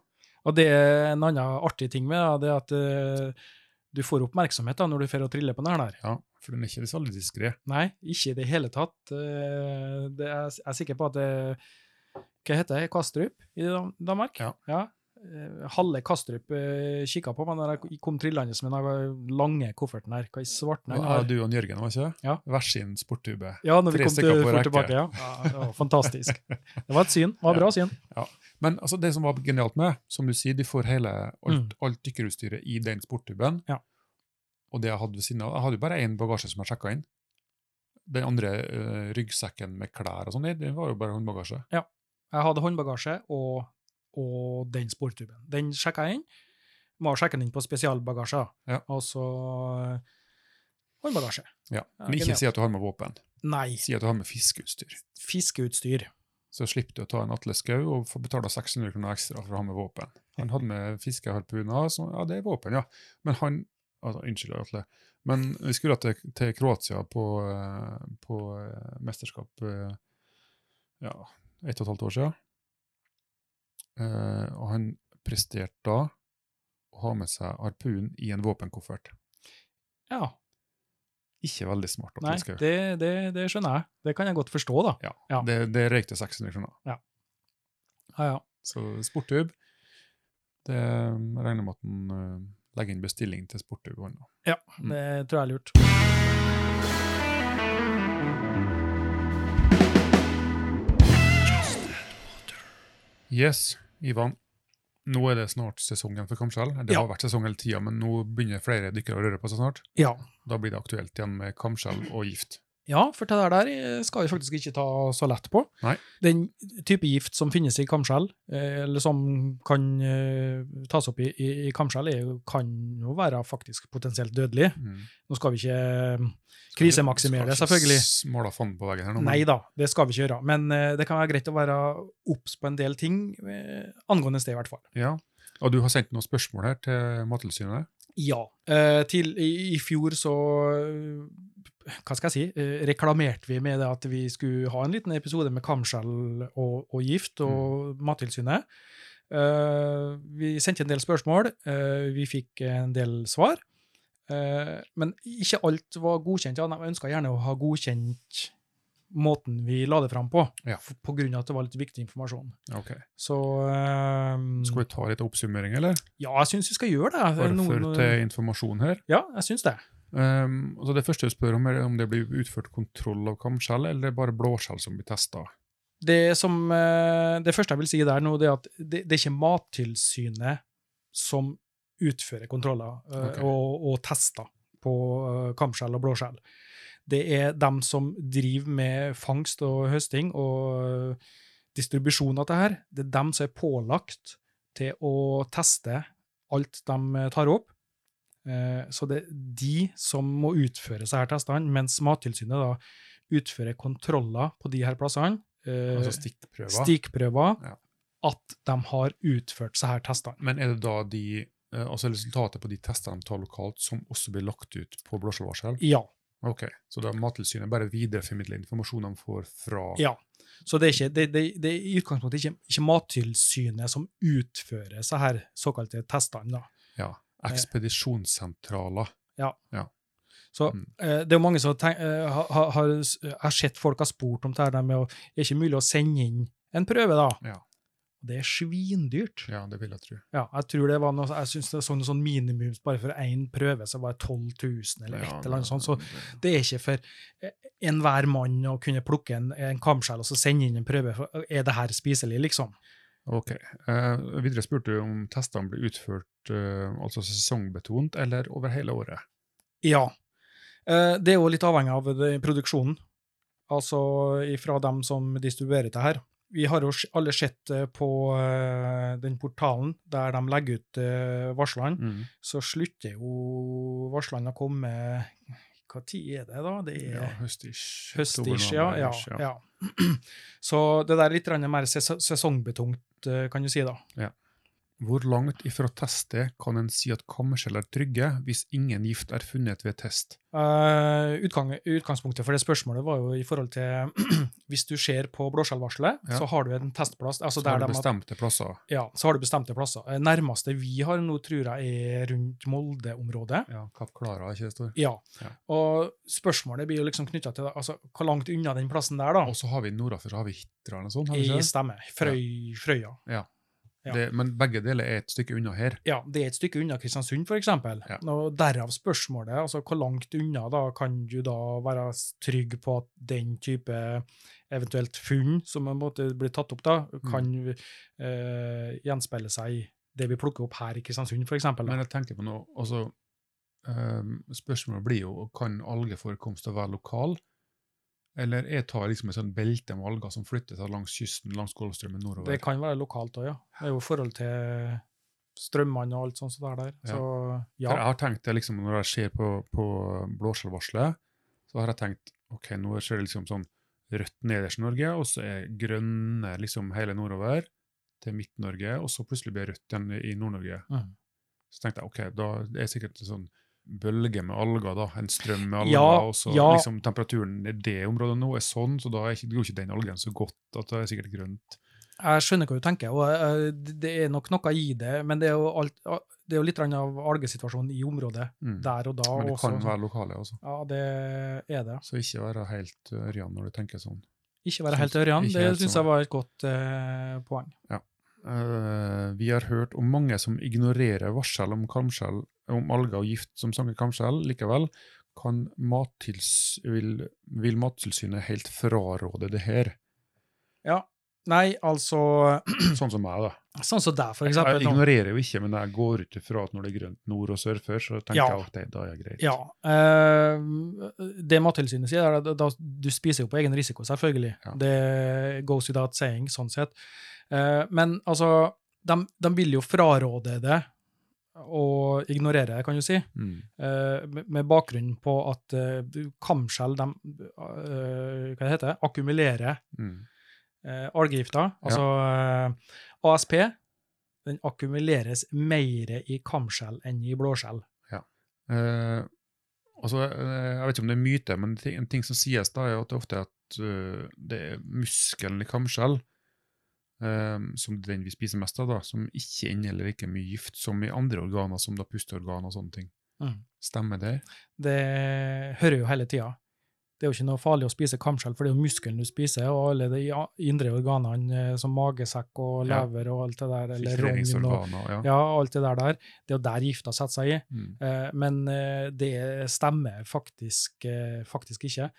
S1: Og det er en annen artig ting med det, det er at øh, du får oppmerksomhet da, når du får å trille på den her der.
S2: Ja, For den er ikke så veldig diskré.
S1: Nei, ikke i det hele tatt. Eh, Det er, jeg er sikker på at det Hva heter det? Kastrup i Dan- Danmark?
S2: Ja.
S1: Eh, Halve Kastrup eh, kikka på meg når jeg kom trillende med den lange kofferten her. Hva i svarten
S2: Nei,
S1: er det?
S2: ja, du og Jørgen, var ikke det?
S1: Ja.
S2: Hver sin sporttube.
S1: Ja, når vi
S2: Tre
S1: kom til,
S2: stykker på
S1: fort
S2: rekke.
S1: tilbake. Ja. ja, det var fantastisk. Det var et syn. Det var bra syn.
S2: Men altså, det som var genialt med, som du sier, de får hele, alt, alt dykkerutstyret i den sporttuben.
S1: Mm. Ja.
S2: Og det jeg hadde ved siden av, jeg hadde jo bare én bagasje som jeg sjekka inn. Den andre eh, ryggsekken med klær og sånn, i, den var jo bare håndbagasje.
S1: Jeg hadde håndbagasje og, og den sportuben. Den sjekka jeg inn. Må sjekke den inn på spesialbagasje.
S2: Ja.
S1: Og så eh, håndbagasje.
S2: Ja.
S1: Ja,
S2: Men ikke
S1: genialt.
S2: si at du har med våpen.
S1: Nei,
S2: Si at du har med fiskeutstyr.
S1: fiskeutstyr.
S2: Så slipper du å ta en Atle Skau og få betale 600 kroner ekstra for å ha med våpen. Han hadde med fiskeharpuner, så ja, det er våpen, ja. Men han altså, Unnskyld, Atle. Men vi skulle da til, til Kroatia på, eh, på eh, mesterskap eh, ja, ett og et halvt år siden. Eh, og han presterte da å å ha med seg harpun i en våpenkoffert.
S1: Ja.
S2: Ikke veldig smart. at
S1: Nei,
S2: du skal...
S1: det, det, det skjønner jeg. Det kan jeg godt forstå, da.
S2: Ja,
S1: Ja.
S2: Det, det røyk til 600 kroner.
S1: Ja, ja.
S2: Så sportpub det jeg regner med at den eh, legger inn bestilling til sportpub. og annet.
S1: Ja,
S2: Mm.
S1: det tror jeg er lurt.
S2: Yes, Ivan. Nå er det snart sesongen for kamskjell. Det
S1: Ja.
S2: har vært sesong hele tida, men nå begynner flere dykkere å røre på seg snart.
S1: Ja.
S2: Da blir det aktuelt igjen med kamskjell og gift.
S1: Ja, for det der der skal vi faktisk ikke ta så lett på.
S2: Nei.
S1: Den type gift som finnes i kamskjell, eh, eller som kan eh, tas opp i, i, i kamskjell, er jo, kan jo være faktisk potensielt dødelig.
S2: Mm.
S1: Nå skal vi ikke eh, krisemaksimere det, selvfølgelig.
S2: Måla fanden på veggen her nå. men-
S1: Nei da, det skal vi ikke gjøre. Men eh, det kan være greit å være obs på en del ting eh, angående sted, i hvert fall.
S2: Ja. Og du har sendt noen spørsmål her til Mattilsynet.
S1: Ja. Eh, til, i, I fjor så eh, Hva skal jeg si? eh, reklamerte vi med det at vi skulle ha en liten episode med kamskjell og, og gift og
S2: Mm.
S1: Mattilsynet. Eh, vi sendte en del spørsmål. eh, vi fikk en del svar. Eh, men ikke alt var godkjent. Ja, jeg ønska gjerne å ha godkjent måten vi la det fram på,
S2: Ja.
S1: f- på grunn av at det var litt viktig informasjon.
S2: Ok.
S1: Så eh,
S2: Skal vi ta litt oppsummering, eller?
S1: Ja, jeg syns vi skal gjøre det.
S2: Bare for
S1: Noen-
S2: til informasjon her.
S1: Ja, jeg syns det.
S2: Um, altså det første jeg spør om, er om det blir utført kontroll av kamskjell, eller er det bare blåskjell som blir testa.
S1: det, som, eh, det første jeg vil si der nå, det er at det, det er ikke Mattilsynet som utfører kontroller eh,
S2: Ok.
S1: og, og tester på eh, kamskjell og blåskjell. Det er dem som driver med fangst og høsting og eh, distribusjon av det her. Det er dem som er pålagt til å teste alt de tar opp. Eh, Så det er de som må utføre disse her testene, mens Mattilsynet da utfører kontroller på de her plassene. eh,
S2: Altså stikkprøver.
S1: stikkprøver,
S2: Ja.
S1: at de har utført disse her testene.
S2: Men er det da de eh, Altså resultatet på de testene de tar lokalt, som også blir lagt ut på blåskjellvarsel?
S1: Ja.
S2: Ok, Så da Mattilsynet bare videreformidler informasjon de får fra
S1: ja. Så det er, ikke, det, det, det er i utgangspunktet ikke, ikke Mattilsynet som utfører disse her såkalte testene. da.
S2: Ja,
S1: eh.
S2: ekspedisjonssentraler.
S1: Så
S2: Mm.
S1: eh, det er jo mange som tenk, eh, har, har, har s- jeg har sett folk har spurt om det her der med å Er det ikke mulig å sende inn en prøve, da?
S2: Ja.
S1: Det er svindyrt.
S2: Ja, det vil jeg tro.
S1: Ja, jeg tror det var noe, jeg synes det er sånn, sånn minimums bare for én prøve, så var det 12 000 eller et
S2: Ja,
S1: eller annet sånt. Så
S2: det-
S1: det er ikke for eh, enhver mann å kunne plukke en, en kamskjell og så sende inn en prøve. For, eh, er det her spiselig, liksom?
S2: Ok. Eh, videre spurte du om testene ble utført eh, altså sesongbetont eller over hele året.
S1: Ja. Eh, det er jo litt avhengig av det- produksjonen, altså fra dem som distribuerer det her. Vi har jo s- alle sett eh, på eh, den portalen der de legger ut eh, varslene, så slutter jo varslene å komme Hva tid er det, da? Det er
S2: Ja, høstish.
S1: Eh, Høstish,
S2: oktober,
S1: ja,
S2: november,
S1: ja,
S2: ish,
S1: ja. Så det der er litt grann mer ses sesongbetungt, eh, kan du si, da.
S2: Hvor langt ifra testet kan en si at kammerskjell er trygge hvis ingen gift er funnet ved test?
S1: Eh, utgang, utgangspunktet for det spørsmålet var jo i forhold til Hvis du ser på blåskjellvarselet,
S2: Ja.
S1: så har du en testplass. Altså
S2: Så har
S1: der de
S2: du
S1: har,
S2: bestemte plasser.
S1: ja, så har du bestemte plasser. Eh, Nærmeste vi har nå, tror jeg er rundt Molde-området.
S2: Ja, Kapp Klara, ikke det står.
S1: Ja.
S2: Ja.
S1: Og spørsmålet blir jo liksom knytta til altså, hvor langt unna den plassen der, da.
S2: Og så har vi nordafor, så har vi Hitra eller noe sånt. har vi
S1: I
S2: ikke det?
S1: stemme. Frøy, Frøya. ja.
S2: Det, men begge deler er et stykke unna her.
S1: ja, det er et stykke unna Kristiansund, for eksempel.
S2: Ja.
S1: Og derav spørsmålet, altså hvor langt unna da kan du da være s- trygg på at den type eventuelt funn som på en måte blir tatt opp da,
S2: Mm.
S1: kan eh, gjenspeile seg i det vi plukker opp her i Kristiansund, for eksempel.
S2: Men
S1: Da.
S2: jeg tenker på noe, altså, ehm, spørsmålet blir jo, kan algeforekomster være lokal? Eller jeg tar liksom et sånt belte med alger som flytter seg langs kysten, langs Golfstrømmen nordover.
S1: Det kan være lokalt også, ja. Det er jo forhold til strømmene og alt sånt som det er der.
S2: Ja.
S1: Så
S2: For
S1: ja,
S2: Jeg har tenkt det liksom, når jeg ser på, på blåskjellvarselet, så har jeg tenkt, ok, nå ser det liksom sånn rødt nederst i Norge, og så er grønne liksom hele nordover til Midt-Norge, og så plutselig blir det rødt igjen i Nord-Norge.
S1: Mhm.
S2: Så tenkte jeg, ok, da er det sikkert en sånn bølge med alger da, en strøm med alger,
S1: Ja,
S2: og så
S1: ja.
S2: liksom temperaturen i det området nå er sånn, så da er ikke, går ikke den algen så godt, at det er sikkert grønt.
S1: Jeg skjønner hva du tenker, og eh, det- det er nok noe i det, men det er jo, alt, det er jo litt grann av algesituasjonen i området
S2: Mm.
S1: der og da.
S2: Men
S1: også.
S2: det
S1: altså.
S2: kan være lokale også.
S1: Ja, det er det.
S2: Så ikke være helt uh, ørjan når du tenker sånn.
S1: Ikke være
S2: Syns-
S1: helt ørjan,
S2: ikke
S1: det
S2: helt
S1: syns
S2: sånn.
S1: jeg var et godt eh, poeng.
S2: Eh, vi har hørt om mange som ignorerer varsel om, kamskjell, om alger og gift som sanker kamskjell. Likevel kan mattils, vil, vil Mattilsynet helt fraråde det her.
S1: Nei, altså
S2: Sånn som meg, da.
S1: Sånn som deg, for
S2: Jeg
S1: eksempel. nå.
S2: ignorerer jo ikke, men jeg går ut ifra at når det er grønt nord og sør før, så tenker
S1: Ja.
S2: jeg at det, da er det greit.
S1: Ja. eh, det Mattilsynet sier, er at da- du spiser jo på egen risiko, selvfølgelig.
S2: Ja.
S1: Det goes without saying, sånn sett. Eh, men altså, de, de vil jo fraråde det og ignorere det, kan du si,
S2: Mm.
S1: eh, med- med bakgrunn på at eh, du- kamskjell de eh, hva det heter, akkumulerer
S2: Mm.
S1: eh, algegifter. Altså eh, ASP den akkumuleres mer i kamskjell enn i blåskjell.
S2: Eh, altså, eh, jeg vet ikke om det er myte, men ting, en ting som sies da, er jo at det ofte er at eh, det er muskelen i kamskjell, eh, som den vi spiser mest av, da, som ikke inneholder like mye gift som i andre organer, som da pusteorgan og sånne ting.
S1: Mm.
S2: Stemmer det?
S1: det hører jo hele tida. Det er jo ikke noe farlig å spise kamskjell, for det er jo muskelen du spiser, og alle de ja- indre organene eh, som magesekk og
S2: Ja.
S1: lever og alt det der, eller rogn og
S2: Fikreringsorganer, ja.
S1: ja, alt det der der. Det er jo der gifta setter seg i.
S2: Mm.
S1: Eh, Men eh, det stemmer faktisk, eh, faktisk ikke.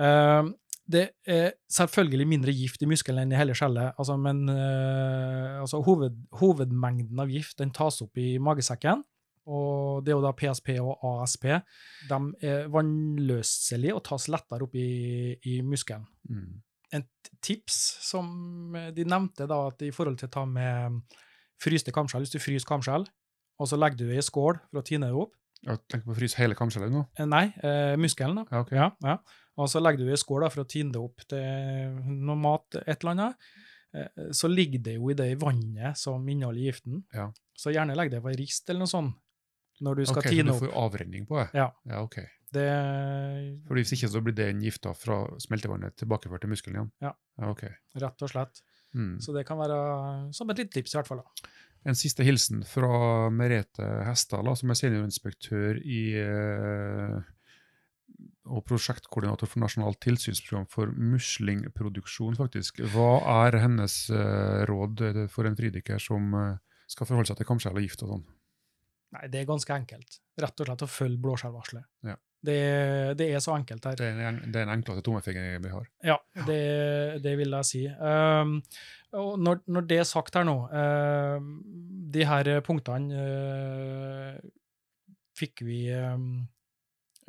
S1: Eh, Det er selvfølgelig mindre gift i muskelen enn i hele skjellet, altså, men eh, altså, hoved, hovedmengden av gift den tas opp i magesekken. Og det er jo da PSP og ASP. De er vannløselige og tas lettere opp i, i muskelen.
S2: Mm.
S1: Tips som eh, de nevnte da, at i forhold til å ta med fryste kamskjell, hvis du fryser kamskjell, og så legger du det i en skål for å tine det opp,
S2: Jeg tenker på å fryse hele kamskjellet nå.
S1: Eh, Nei, eh, muskelen. da.
S2: Ja, ok.
S1: Ja, ja. Og så legger du det i skål da, for å tine det opp til noe mat, et eller annet. Eh, Så ligger det jo i det vannet som inneholder giften.
S2: Ja.
S1: Så gjerne legg det på ei rist eller noe sånt når du skal
S2: Ok,
S1: tine
S2: så du
S1: opp.
S2: får avrenning på det?
S1: Ja.
S2: ja ok.
S1: Det,
S2: Fordi hvis ikke så blir den gifta fra smeltevannet tilbakeført til muskelen igjen?
S1: Ja.
S2: ja ok.
S1: rett og slett.
S2: Mm.
S1: Så det kan være som et lite tips, i hvert fall. da.
S2: En siste hilsen fra Merete Hestala, som er seniorinspektør i eh, og prosjektkoordinator for Nasjonalt tilsynsprogram for muslingproduksjon, faktisk. Hva er hennes eh, råd for en fridykker som eh, skal forholde seg til kamskjell og gift og sånn?
S1: Nei, det er ganske enkelt. Rett og slett å følge blåskjellvarselet.
S2: Ja.
S1: Det, det er så enkelt her.
S2: Det er en- det er den enkleste tommefingeren vi har.
S1: Ja, det, det vil jeg si. Ehm, og når, når det er sagt her nå, ehm, de her punktene eh, fikk vi ehm,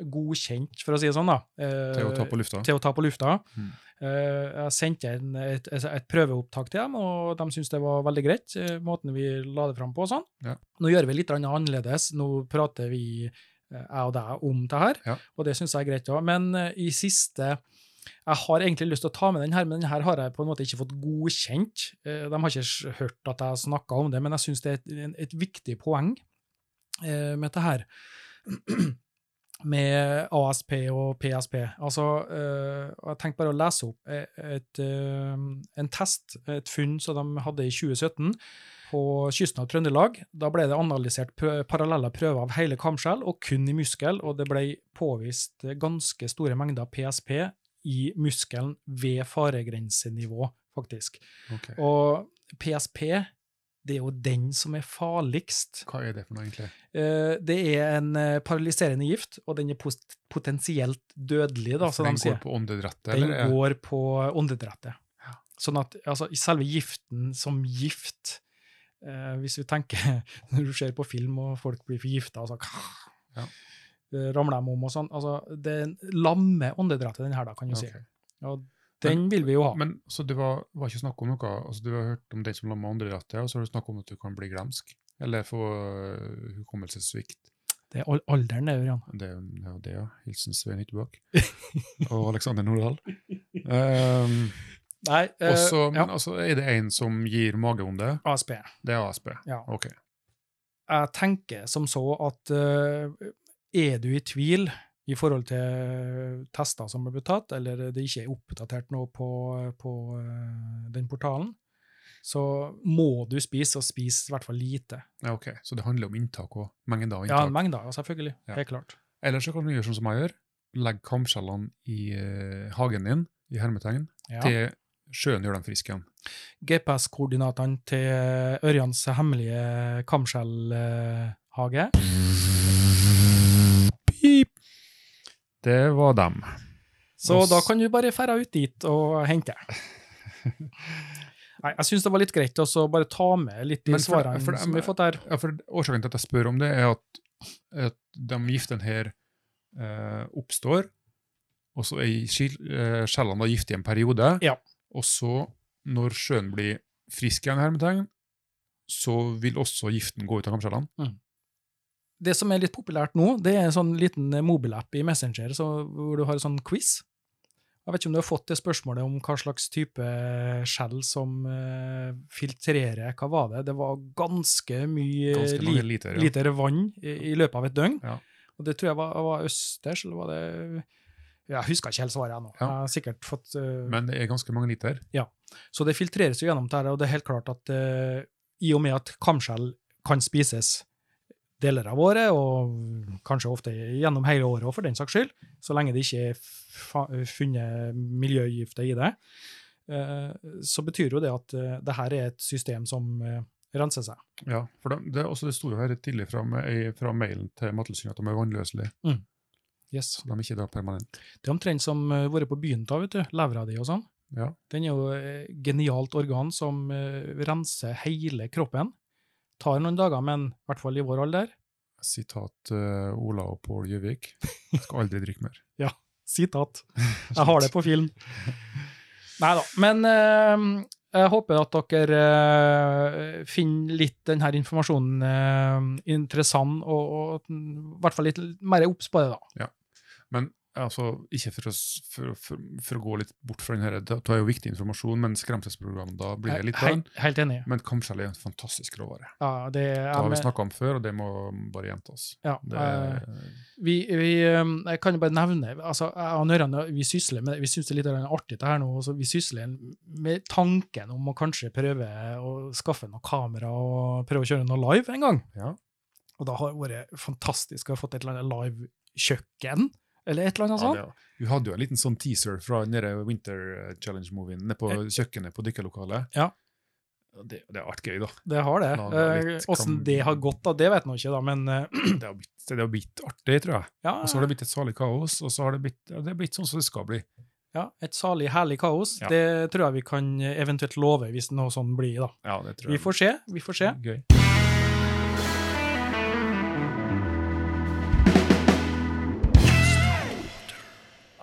S1: godkjent, for å si det sånn, da. eh,
S2: Til å ta på lufta.
S1: til å ta på lufta.
S2: Mm.
S1: Eh, jeg sendte en, et, et, et prøveopptak til dem, og de syntes det var veldig greit, eh, måten vi la det fram på og sånn.
S2: Ja.
S1: Nå gjør vi litt grann annerledes, nå prater vi, eh, jeg og deg, om det her,
S2: Ja.
S1: og det syns jeg er greit òg. Men eh, i siste jeg har egentlig lyst til å ta med den her, men den her har jeg på en måte ikke fått godkjent. Eh, De har ikke s- hørt at jeg snakka om det, men jeg syns det er et, en- et viktig poeng eh, med det her. Med ASP og PSP. Altså, eh, og jeg tenkte bare å lese opp eh, et, eh, en test, et funn som de hadde i 2017 på kysten av Trøndelag. Da ble det analysert prø parallelle prøver av hele kamskjell og kun i muskel, og det ble påvist ganske store mengder PSP i muskelen ved faregrensenivå, faktisk.
S2: Ok.
S1: Og PSP, det er jo den som er farligst.
S2: Hva er det for noe, egentlig?
S1: Eh, Det er en eh, paralyserende gift, og den er post- potensielt dødelig, da,
S2: For
S1: som
S2: den
S1: de sier.
S2: går på åndedrettet,
S1: Den
S2: eller? er-
S1: går på åndedrettet. Sånn at altså, selve giften som gift eh, Hvis vi tenker når du ser på film og folk blir forgifta og så
S2: Ja.
S1: eh, ramler de om og sånn altså, Det lammer åndedrettet, den her, da, kan du
S2: Ok.
S1: si. Og den vil vi jo ha.
S2: Men så det var, var ikke snakk om noe altså Du har hørt om den som la med andre rattet, og så har du snakk om at du kan bli glemsk. Eller få øh, hukommelsessvikt.
S1: det er al- alderen, det, Ørjan.
S2: Det er jo det, er jo det, ja. Hilsen Svein Hyttebakk. og Alexander Nordahl. Um,
S1: Nei, eh,
S2: også,
S1: ja,
S2: men altså, er det en som gir magevonde?
S1: ASP.
S2: Det er ASP.
S1: Ja.
S2: Ok.
S1: Jeg tenker som så at eh, er du i tvil i forhold til tester som ble tatt, eller det ikke er oppdatert nå på, på eh, den portalen, Så må du spise, og spise i hvert fall lite.
S2: Ja, ok. Så det handler om inntak og mengden av
S1: Ja,
S2: inntak.
S1: mengder, selvfølgelig.
S2: Ja.
S1: Helt klart.
S2: Ellers så kan du gjøre sånn som jeg gjør. Legg kamskjellene i eh, hagen din, i hermetegn,
S1: Ja.
S2: til sjøen gjør dem friske igjen.
S1: GPS-koordinatene til Ørjans hemmelige kamskjellhage. Pip!
S2: Det var dem.
S1: Så
S2: Og s-
S1: da kan du bare fære ut dit og hente. Nei, jeg syns det var litt greit å så bare ta med litt de
S2: Men for-
S1: svarene
S2: for det-
S1: som vi har fått der.
S2: Ja, for Årsaken til at jeg spør om det, er at, at de giftene her eh, oppstår, og så er skil- eh, skjellene da giftige en periode.
S1: Ja.
S2: Og så, når sjøen blir frisk igjen, i hermetegn, så vil også giften gå ut av kamskjellene.
S1: Det som er litt populært nå, det er en sånn liten mobilapp i Messenger så, hvor du har en sånn quiz. Jeg vet ikke om du har fått det spørsmålet om hva slags type skjell som eh, filtrerer Hva var det? Det var ganske mye
S2: Ganske
S1: lit-
S2: mange Eh, liter. Ja.
S1: liter vann i, i løpet av et døgn.
S2: Ja.
S1: Og det tror jeg var, var østers, eller var det Jeg husker ikke helt svaret ennå.
S2: Ja.
S1: Jeg har sikkert fått eh,
S2: Men det er ganske mange liter.
S1: Så det filtreres jo gjennom det her, og det er helt klart at eh, i og med at kamskjell kan spises deler av året, og kanskje ofte gjennom hele året også, for den saks skyld, så lenge det ikke er fa- funnet miljøgifter i det, eh, så betyr jo det at eh, det her er et system som eh, renser seg.
S2: Ja, for de, det, er også det sto jo her rett tidlig fra, me- i- fra mailen til Mattilsynet at de er vannløselige,
S1: Yes.
S2: så de er ikke da permanent.
S1: Det er omtrent som uh, vært på byen, da, vet du. Levra di og sånn.
S2: Ja.
S1: Den er jo et genialt organ som eh, renser hele kroppen. Tar noen dager, men i hvert fall i vår alder.
S2: Sitat eh, Ola og Pål Gjøvik. Jeg skal aldri drikke mer.
S1: Sitat. Jeg har det på film. Nei da. Men eh, jeg håper at dere eh, finner litt denne informasjonen eh, interessant, og, og at den- i hvert fall litt mer obs på det, da.
S2: altså, ikke for å, s- for, å- for, for å gå litt bort fra den her, det det er jo viktig informasjon, men skremselsprogrammet blir jeg litt på den.
S1: helt, helt enig.
S2: Men kamskjell er en fantastisk råvare.
S1: Ja, det er
S2: Det har vi
S1: med-
S2: snakka om før, og det må bare gjentas.
S1: ja,
S2: Det
S1: eh,
S2: er
S1: vi, vi, um, jeg kan jo bare nevne altså, jeg og Nørjan, vi sysler med det, vi syns det er litt artig det her nå, så vi sysler med tanken om å kanskje prøve å skaffe noe kamera og prøve å kjøre noe live en gang.
S2: Ja.
S1: Og da har det vært fantastisk å ha fått et eller annet live-kjøkken, eller et eller annet sånt.
S2: ja, det, vi hadde jo en liten sånn teaser fra den der Winter Challenge-movien nede på kjøkkenet på dykkerlokalet.
S1: Eh. Ja.
S2: Det, det har vært gøy, da.
S1: det, har det.
S2: La det litt
S1: Eh, Åssen
S2: kam-
S1: det har gått, da, det vet jeg nå ikke, da, men eh,
S2: Det har blitt, det har blitt artig, tror jeg.
S1: ja,
S2: Og så har det blitt et salig kaos, og så har det blitt, ja, det har blitt sånn som det skal bli.
S1: ja, et salig, herlig kaos.
S2: Ja.
S1: Det tror jeg vi kan eh, eventuelt love, hvis noe sånt blir, da.
S2: Ja, det tror
S1: Vi
S2: jeg.
S1: får se, vi får se.
S2: Gøy. Mm.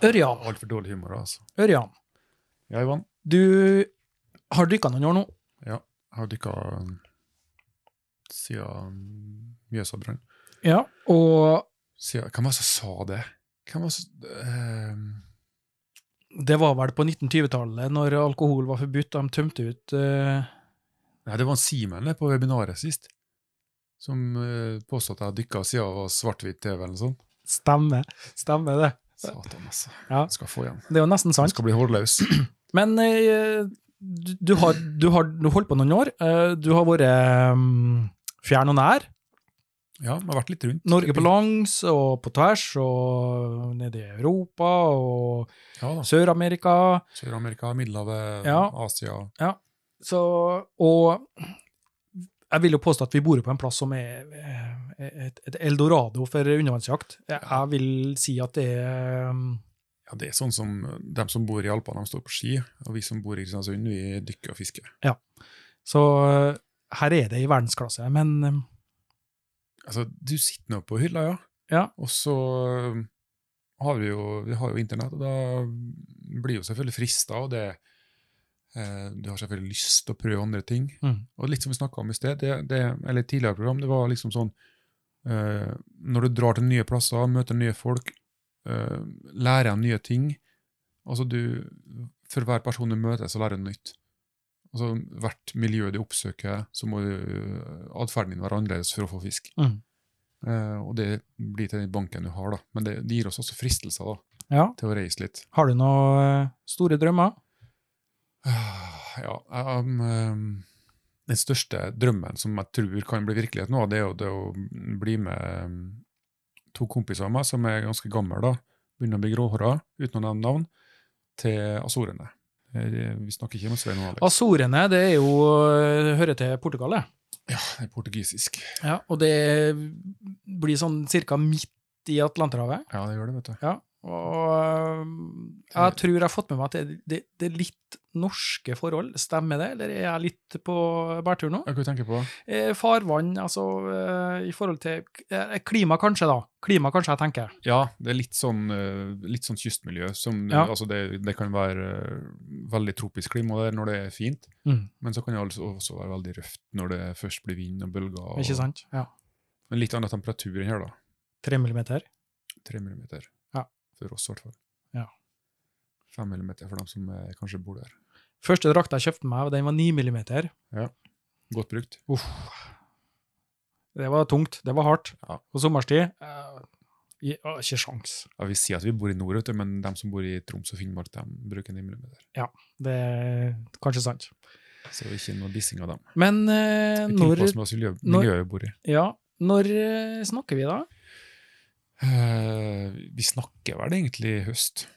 S1: Ørjan,
S2: Altfor dårlig humor, altså.
S1: Ørjan.
S2: Ja, Ivan.
S1: Du har dykka noen år nå.
S2: Jeg har dykka siden Mjøsa-brannen.
S1: Ja. Og
S2: Siden- Hvem var det som sa det? Hvem var det som eh,
S1: det var vel på 1920-tallet, når alkohol var forbudt og de tømte ut eh,
S2: Nei, det var en Simen det, på webinaret sist, som eh, påstod at jeg dykka siden jeg var svart-hvitt TV eller noe sånt.
S1: Stemme. Stemmer det.
S2: Satan, altså.
S1: Ja.
S2: Jeg skal få igjen.
S1: Det er jo nesten
S2: Jeg
S1: sant.
S2: skal bli hårløs.
S1: Men eh, du, du, har, du har du har holdt på noen år. Eh, du har vært mm, fjern og nær.
S2: Ja, vi har vært litt rundt.
S1: Norge på langs og på tvers og nede i Europa og
S2: Ja da.
S1: Sør-Amerika.
S2: Sør-Amerika, Middelhavet,
S1: Ja.
S2: Asia.
S1: Så, og jeg vil jo påstå at vi bor på en plass som er eh, et, et eldorado for undervannsjakt. Jeg, jeg vil si at det er um,
S2: Ja, det er sånn som de som bor i Alpene, de står på ski, og vi som bor i Kristiansund, vi dykker og fisker.
S1: Så eh, her er det i verdensklasse, men um,
S2: Altså, du sitter nå på hylla, ja.
S1: Ja.
S2: Og så um, har vi jo, vi har jo internett, og da blir jo selvfølgelig frista, og det eh, Du har selvfølgelig lyst til å prøve andre ting.
S1: Mhm.
S2: Og litt som vi snakka om i sted, det, det, eller i tidligere program, det var liksom sånn eh, Når du drar til nye plasser, møter nye folk, eh, lærer nye ting Altså, du For hver person du møter, så lærer du nytt. Altså, hvert miljø du oppsøker, så må du- eh, atferden din være annerledes for å få fisk.
S1: Mhm.
S2: Eh, og det blir til den banken du har, da. Men det, det gir oss også fristelser da,
S1: ja.
S2: til å reise litt.
S1: Har du noen eh, store drømmer?
S2: Ah, Ja, jeg, um, eh, den største drømmen som jeg tror kan bli virkelighet nå, det er jo det å bli med um, to kompiser av meg som er ganske gamle, da, begynner å bli gråhåra, uten å nevne navn, til Azorene. Eh, Vi snakker ikke om Svein og Alex.
S1: Azorene det er jo, eh, hører til Portugal, det.
S2: Ja, det er portugisisk.
S1: Ja, og det blir sånn cirka midt i Atlanterhavet.
S2: Ja, det gjør det, vet du.
S1: Ja, og øhm, jeg tror jeg har fått med meg at det, det, det er litt norske forhold. Stemmer det, eller er jeg litt på bærtur nå?
S2: Ja, Hva tenker du på?
S1: Eh, Farvann, altså eh, i forhold til eh, Klima kanskje, da. Klima kanskje, jeg tenker.
S2: Ja, det er litt sånn, eh, litt sånn kystmiljø. Som,
S1: Ja.
S2: altså det, det kan være eh, veldig tropisk klima der når det er fint,
S1: Mm.
S2: men så kan det altså også være veldig røft når det først blir vind og bølger. Og,
S1: Ikke sant? Ja.
S2: Men litt annen temperatur enn her, da.
S1: Tre millimeter.
S2: Tre millimeter.
S1: Ja.
S2: For oss, i hvert fall.
S1: Ja.
S2: Fem millimeter for dem som eh, kanskje bor der.
S1: Første drakta jeg kjøpte meg, den var ni millimeter.
S2: Godt brukt.
S1: Uff. Det var tungt, det var hardt.
S2: Ja.
S1: På sommerstid eh, i- å, Ikke sjans.
S2: Ja, vi sier at vi bor i nord, vet du, men de som bor i Troms og Finnmark, de bruker ni millimeter.
S1: Det er kanskje sant.
S2: Så ikke noe dissing av dem.
S1: Men eh,
S2: Vi
S1: når,
S2: tilpasser oss miljø-
S1: når-
S2: miljøet vi bor i.
S1: ja, når eh, snakker vi da?
S2: Eh, vi snakker vel egentlig i høst.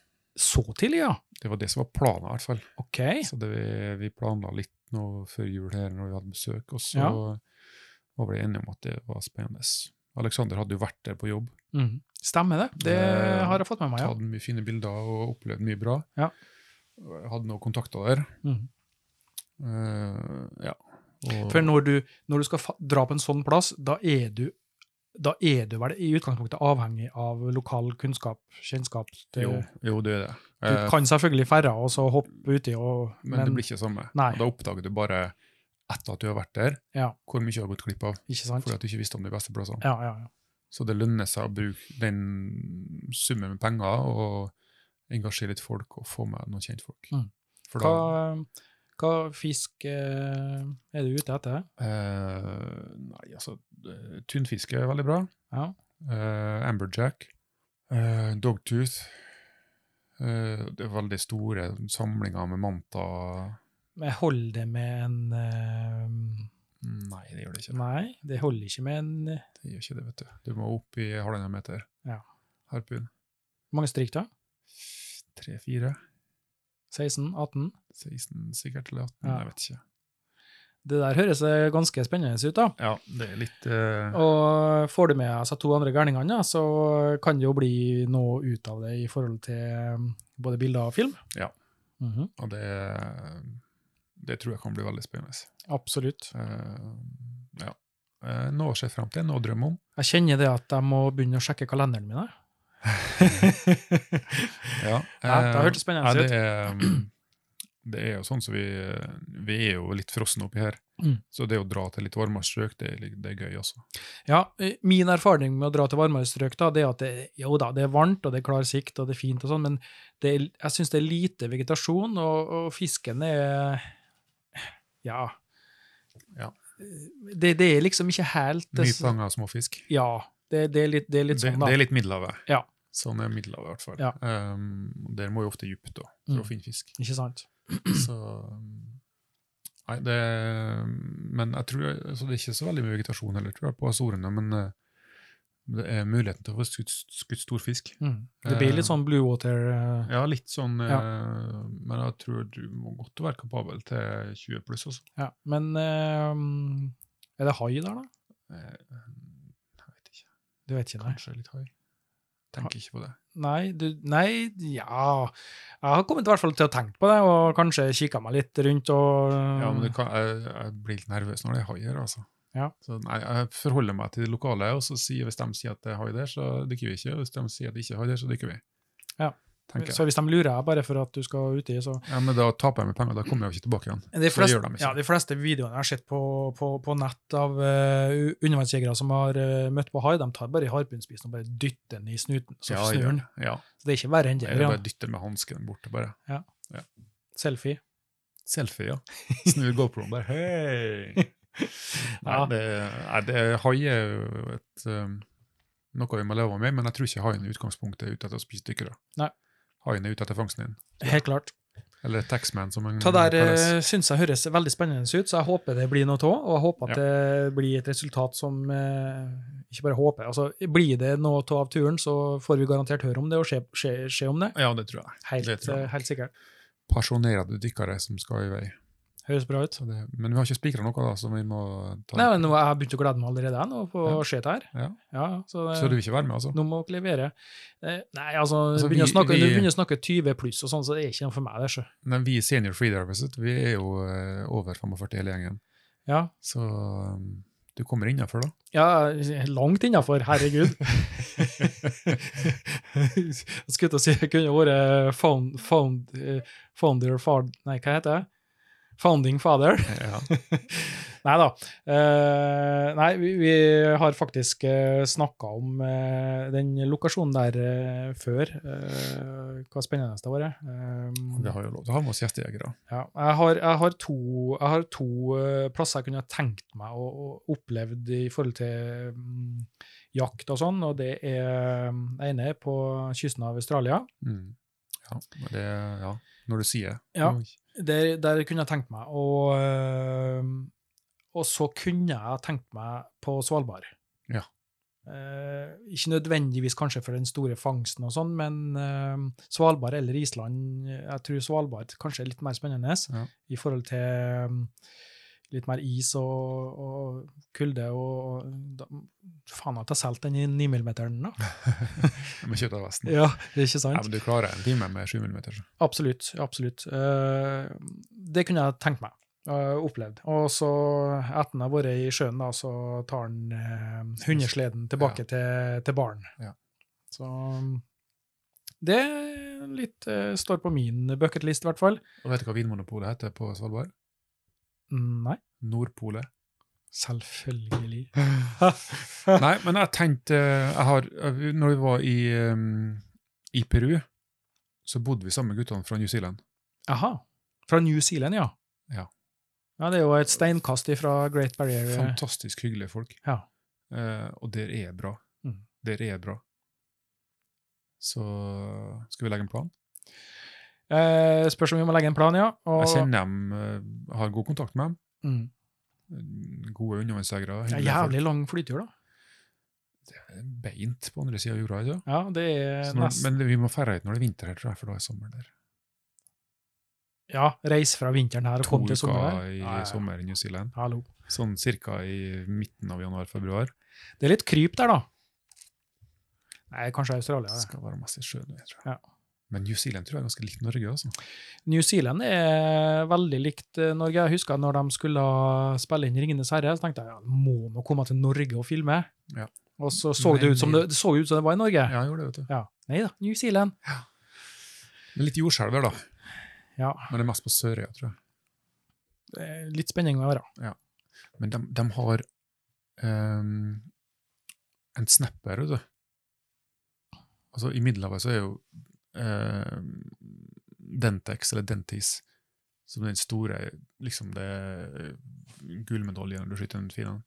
S1: Så tidlig, ja.
S2: Det var det som var planen, i hvert fall.
S1: Ok.
S2: Så det, vi- vi planla litt nå før jul her når vi hadde besøk, og så
S1: Ja.
S2: var vi enige om at det var spennende. Aleksander hadde jo vært der på jobb,
S1: Mm. Stemmer det. Det
S2: Eh,
S1: har jeg fått med meg, Ah, ja.
S2: tatt mye fine bilder og opplevd mye bra.
S1: Ja.
S2: Hadde noen kontakter der.
S1: Mhm.
S2: Eh, ja. Og,
S1: For når du, når du skal fa dra på en sånn plass, da er du da er du vel i utgangspunktet avhengig av lokal kunnskap, kjennskap. til-
S2: jo, jo, det er det.
S1: Du
S2: Eh,
S1: kan selvfølgelig ferda og så hoppe uti og
S2: men, det blir ikke det samme.
S1: Nei.
S2: Og Da oppdager du bare etter at du har vært der,
S1: Ja.
S2: hvor mye du har gått glipp av.
S1: Ikke sant?
S2: Fordi at du ikke visste om de beste plassene.
S1: Ja, ja, ja.
S2: Så det lønner seg å bruke den summen med penger og engasjere litt folk og få med noen kjentfolk.
S1: Mm.
S2: For da,
S1: Hva, hva fisk eh, er du ute etter?
S2: eh, nei, altså, eh, tunfiske er veldig bra.
S1: Ja.
S2: Eh, amberjack. Eh, dogtooth. Eh, det er veldig store samlinger med manta.
S1: Men Holder det med en eh,
S2: Nei, det gjør det ikke.
S1: Nei, det holder ikke med en eh,
S2: Det gjør ikke det, vet du. Du må opp i halvannen meter.
S1: Ja.
S2: Harpun.
S1: Hvor mange stryk, da?
S2: Tre-fire.
S1: 16? 18?
S2: 16 sikkert, eller 18.
S1: Ja.
S2: Jeg vet ikke.
S1: Det der høres eh, ganske spennende ut, da.
S2: Ja, det er litt eh,
S1: Og får du med altså, to andre gærningene, ja, så kan det jo bli noe ut av det i forhold til eh, både bilder og film.
S2: Ja.
S1: Mhm,
S2: Og det, det tror jeg kan bli veldig spennende.
S1: Absolutt.
S2: Eh, ja. Eh, noe å se frem til, noe å drømme om.
S1: Jeg kjenner det at jeg må begynne å sjekke kalenderen min. jeg.
S2: Ja,
S1: Ja, det
S2: eh,
S1: hørtes spennende ut.
S2: ja, det er- Det er jo sånn som vi Vi er jo litt frosne oppi her.
S1: Mm.
S2: Så det å dra til litt varmere strøk, det, er litt- det er gøy altså. også.
S1: Ja, eh, Min erfaring med å dra til varmere strøk da, det er at det, jo da, det er varmt, og det er klar sikt, og det er fint, og sånn, men det er, jeg syns det er lite vegetasjon, og, og fisken er Ja. Eh,
S2: Ja.
S1: Det, det er liksom ikke helt det
S2: Mye
S1: s-
S2: penger og småfisk.
S1: Ja. Det, det, er litt, det er litt sånn,
S2: det,
S1: da.
S2: det er litt Middelhavet.
S1: Ja.
S2: Sånn er Middelhavet i hvert fall.
S1: Ja.
S2: Eh, der må jo ofte dypt da, for å
S1: Mm.
S2: finne fisk.
S1: Ikke sant?
S2: Så um, Nei, det um, Men jeg tror altså det er ikke så veldig mye vegetasjon heller, tror jeg, på Azorene. Men eh, det er muligheten til å få skutt, skutt stor fisk.
S1: Mm. Det blir litt sånn blue water eh,
S2: Ja, litt sånn eh, Men jeg tror du må godt være kapabel til 20 pluss, altså.
S1: ja. Men eh, er det hai der, da?
S2: Eh, Jeg vet ikke.
S1: Du vet ikke, nei?
S2: Kanskje litt høy. Tenker ikke på det.
S1: Nei, du, nei, ja Jeg har kommet i hvert fall til å tenke på det, og kanskje kikka meg litt rundt og
S2: Ja, men det kan, jeg, jeg blir litt nervøs når det er hai her, altså.
S1: Ja.
S2: Så nei, jeg forholder meg til det lokale, og så sier, hvis de sier at det er hai der, så dykker vi ikke. og Hvis de sier at det ikke er hai der, så dykker vi.
S1: Ja.
S2: Tenker jeg.
S1: Så hvis de lurer deg bare for at du skal uti, så
S2: Ja, men da taper jeg meg penger, da kommer jeg jo ikke tilbake igjen.
S1: de
S2: For det
S1: fleste,
S2: gjør de liksom. ikke.
S1: ja, de fleste videoene jeg har sett på, på, på nett av eh, u- undervannsjegere som har eh, møtt på hai, de tar bare harpunspisen og bare dytter den i snuten, så
S2: Ja, jeg
S1: snur
S2: gjør
S1: den.
S2: det. Ja,
S1: Så det er ikke verre enn det.
S2: jeg
S1: Ja.
S2: bare dytter med hansken borte, bare.
S1: Selfie.
S2: Selfie, ja. Snur GoProen der, hei! Nei,
S1: Ja.
S2: det, nei, det, hai er jo et, um, noe vi må leve med, men jeg tror ikke haien i utgangspunktet er ute etter å spise dykkere.
S1: Nei.
S2: Haien er ute etter fangsten din.
S1: Helt klart.
S2: Eller Taxman, som han
S1: Det der
S2: kalles.
S1: eh, syns jeg høres veldig spennende ut, så jeg håper det blir noe av. Og jeg håper at det blir et resultat som eh, Ikke bare håper. altså Blir det noe av av turen, så får vi garantert høre om det og se, se, se om det.
S2: Ja, det tror jeg.
S1: Helt,
S2: Det tror jeg.
S1: eh, helt sikkert.
S2: Pasjonerede dykkere som skal i vei.
S1: Høres bra ut.
S2: Så det, men vi har ikke spikra noe, da, så vi må ta
S1: Nei, men nå har jeg begynt å glede meg allerede jeg, nå på å
S2: Ja.
S1: se det her.
S2: Ja.
S1: Ja, så, det-
S2: Så du vil ikke være med, altså?
S1: nå må dere levere. Eh, Nei, altså,
S2: Altså,
S1: begynner, å
S2: vi-
S1: snakke,
S2: vi-
S1: når du begynner å snakke 20 pluss og sånn, så det er ikke noe for meg. det, så.
S2: Nei, vi i Senior Freediverset vi er jo eh, over 45 hele gjengen,
S1: Ja,
S2: så um, du kommer innafor, da.
S1: ja langt innafor, herregud. jeg skulle til å si jeg kunne vært eh, found, found, eh, founder far, Nei, hva heter det? Founding father.
S2: Ja.
S1: Nei da. Eh, nei, vi, vi har faktisk uh, snakka om eh, den lokasjonen der eh, før. Eh, hva spennende det var. Uh,
S2: Vi har jo lov til å ha med oss gjestejegere.
S1: Ja, jeg har, jeg har to, jeg har to eh, plasser jeg kunne ha tenkt meg å, å opplevd i forhold til mm, jakt og sånn, og det er mm, det ene er på kysten av Australia.
S2: Mm. Ja, men det, ja, når du sier det.
S1: Ja.
S2: Oi.
S1: Der, der kunne jeg tenkt meg, og, eh, og så kunne jeg tenkt meg på Svalbard.
S2: Ja.
S1: Eh, ikke nødvendigvis kanskje for den store fangsten og sånn, men eh, Svalbard eller Island, jeg tror Svalbard kanskje er litt mer spennende.
S2: Ja.
S1: i forhold til um, litt mer is og, og kulde og da, Faen at jeg solgte den i 9 mm-en, da.
S2: Med kjøtt av vesten.
S1: Ja, det er ikke
S2: Ja,
S1: sant?
S2: men du klarer en time med 7 millimeter.
S1: Absolutt. absolutt. Eh, det kunne jeg tenkt meg. Uh, opplevd. Og så, etter den har vært i sjøen, da, så tar han eh, hundesleden tilbake til, til baren.
S2: Ja.
S1: Så um, det litt eh, står på min bucketlist, i hvert fall.
S2: Og vet du hva Vinmonopolet heter på Svalbard?
S1: Nei,
S2: Nordpolet.
S1: selvfølgelig.
S2: Nei, men jeg tenkte jeg har, Når vi var i, um, i Peru, så bodde vi sammen med guttene fra New Zealand.
S1: Aha. Fra New Zealand, ja.
S2: Ja.
S1: Ja, Det er jo et steinkast fra Great Barrier.
S2: Fantastisk hyggelige folk.
S1: Ja.
S2: Eh, og der er bra.
S1: Mm.
S2: Der er bra. Så skal vi legge en plan?
S1: Eh, spørs om vi må legge en plan, ja. Og,
S2: Jeg kjenner dem, eh, har god kontakt med dem.
S1: Mm.
S2: Gode undervannsjegere.
S1: Det er
S2: hyggelige folk.
S1: jævlig lang flytur, da.
S2: Beint på andre sida av jorda. Ikke? sant?
S1: Ja, det er
S2: Så når,
S1: Eh, nest...
S2: men vi må ferde ut når det er vinter her, tror jeg, for da er sommer der.
S1: Ja, reis fra vinteren her og
S2: To
S1: kom til sommeren.
S2: uker i
S1: Ja, ja.
S2: sommer i New Zealand.
S1: Hallo.
S2: Sånn cirka i midten av januar-februar.
S1: Det er litt kryp der, da. Nei, kanskje Australia. det.
S2: Skal være mest i sjøen, jeg tror.
S1: Ja.
S2: Men New Zealand tror jeg er ganske likt Norge, altså.
S1: New Zealand er veldig likt eh, Norge. Jeg husker når de skulle spille inn 'Ringenes herre', så tenkte jeg ja, må nå komme til Norge og filme.
S2: Ja.
S1: Og så så det
S2: Men
S1: ut som det, det, så ut som det var i Norge.
S2: Ja, jeg gjorde det, vet du.
S1: Ja. Nei da, New Zealand.
S2: Men litt jordskjelver, da.
S1: Ja,
S2: Men det er mest på Sørøya, tror jeg.
S1: det er litt spenning å være.
S2: Men de, de har ehm, en snapper, vet du. Altså, I Middelhavet så er jo ehm, Dentex, eller Dentis, som den store liksom det eh, gullmedaljen når du skyter den fine.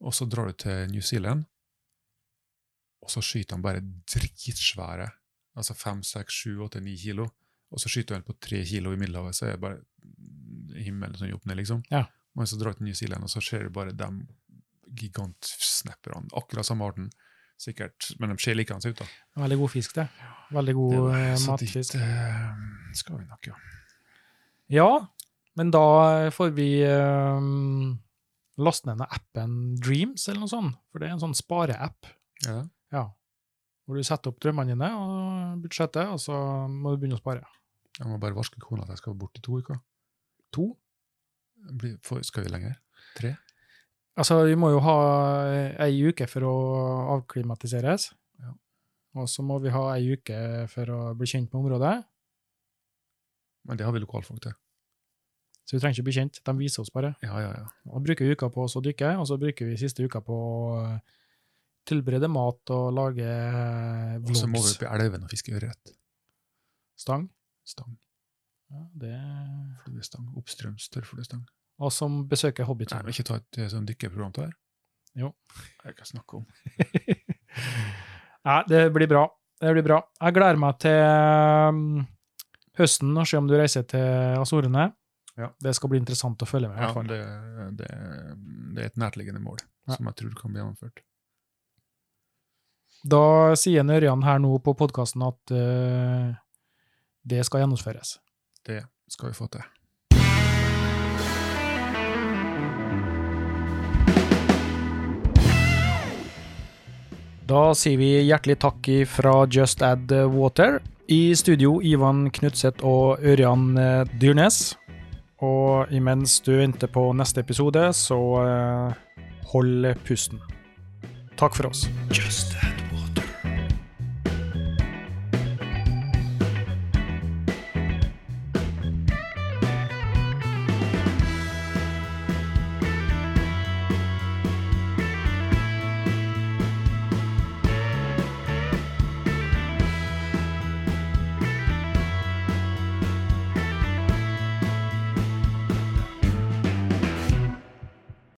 S2: Og så drar du til New Zealand, og så skyter han bare dritsvære, altså fem, seks, sju, åtte, ni kilo. Og så skyter han på tre kilo i Middelhavet, så er det bare himmelen som gjør opp ned, liksom.
S1: Ja.
S2: Men så drar du til New Zealand, og så ser du bare de gigantsnapperne, akkurat samme arten, sikkert. Men de ser likeens ut, da.
S1: Veldig god fisk, det. Veldig god
S2: Det er jo-
S1: eh,
S2: så
S1: matfisk.
S2: dit eh, skal vi nok, ja.
S1: Ja, men da får vi ehm, laste ned den appen Dreams, eller noe sånt. For det er en sånn spareapp
S2: ja.
S1: ja. hvor du setter opp drømmene dine og budsjettet, og så må du begynne å spare.
S2: Jeg må bare varske kona at jeg skal bort i to uker.
S1: To?
S2: Blir- får- Skal vi lenger? Tre?
S1: Altså, vi må jo ha eh, ei uke for å avklimatiseres.
S2: Ja.
S1: Og så må vi ha ei uke for å bli kjent med området.
S2: Men det har vi lokalfolk til.
S1: Så vi trenger ikke bli kjent, de viser oss bare.
S2: Ja, ja, ja.
S1: Og bruker uka på oss å dykke, og så bruker vi siste uka på å tilberede mat og lage eh,
S2: Og så må vi
S1: vlogs.
S2: opp i elven og fiske ørret.
S1: Stang.
S2: Stang.
S1: Ja, det.
S2: Fluestang. Oppstrøms tørrfluestang.
S1: Og som besøker
S2: Nei, men
S1: Hobbitsonen.
S2: ikke ta et eh, sånn dykkeprogram til her.
S1: Jo.
S2: Jeg kan snakke om.
S1: Nei, det blir bra. Det blir bra. Jeg gleder meg til um, høsten og se om du reiser til Azorene.
S2: Ja.
S1: Det skal bli interessant å følge med. i
S2: Ja,
S1: hvert fall.
S2: det, det, det er et nærtliggende mål
S1: Ja.
S2: som jeg tror kan bli gjennomført.
S1: Da sier en Ørjan her nå på podkasten at eh, det skal gjennomføres.
S2: Det skal vi få til.
S1: Da sier vi hjertelig takk fra Just Add Water. I studio Ivan Knutseth og Ørjan eh, Dyrnes. Og imens du venter på neste episode, så eh, hold pusten. Takk for oss.
S2: Just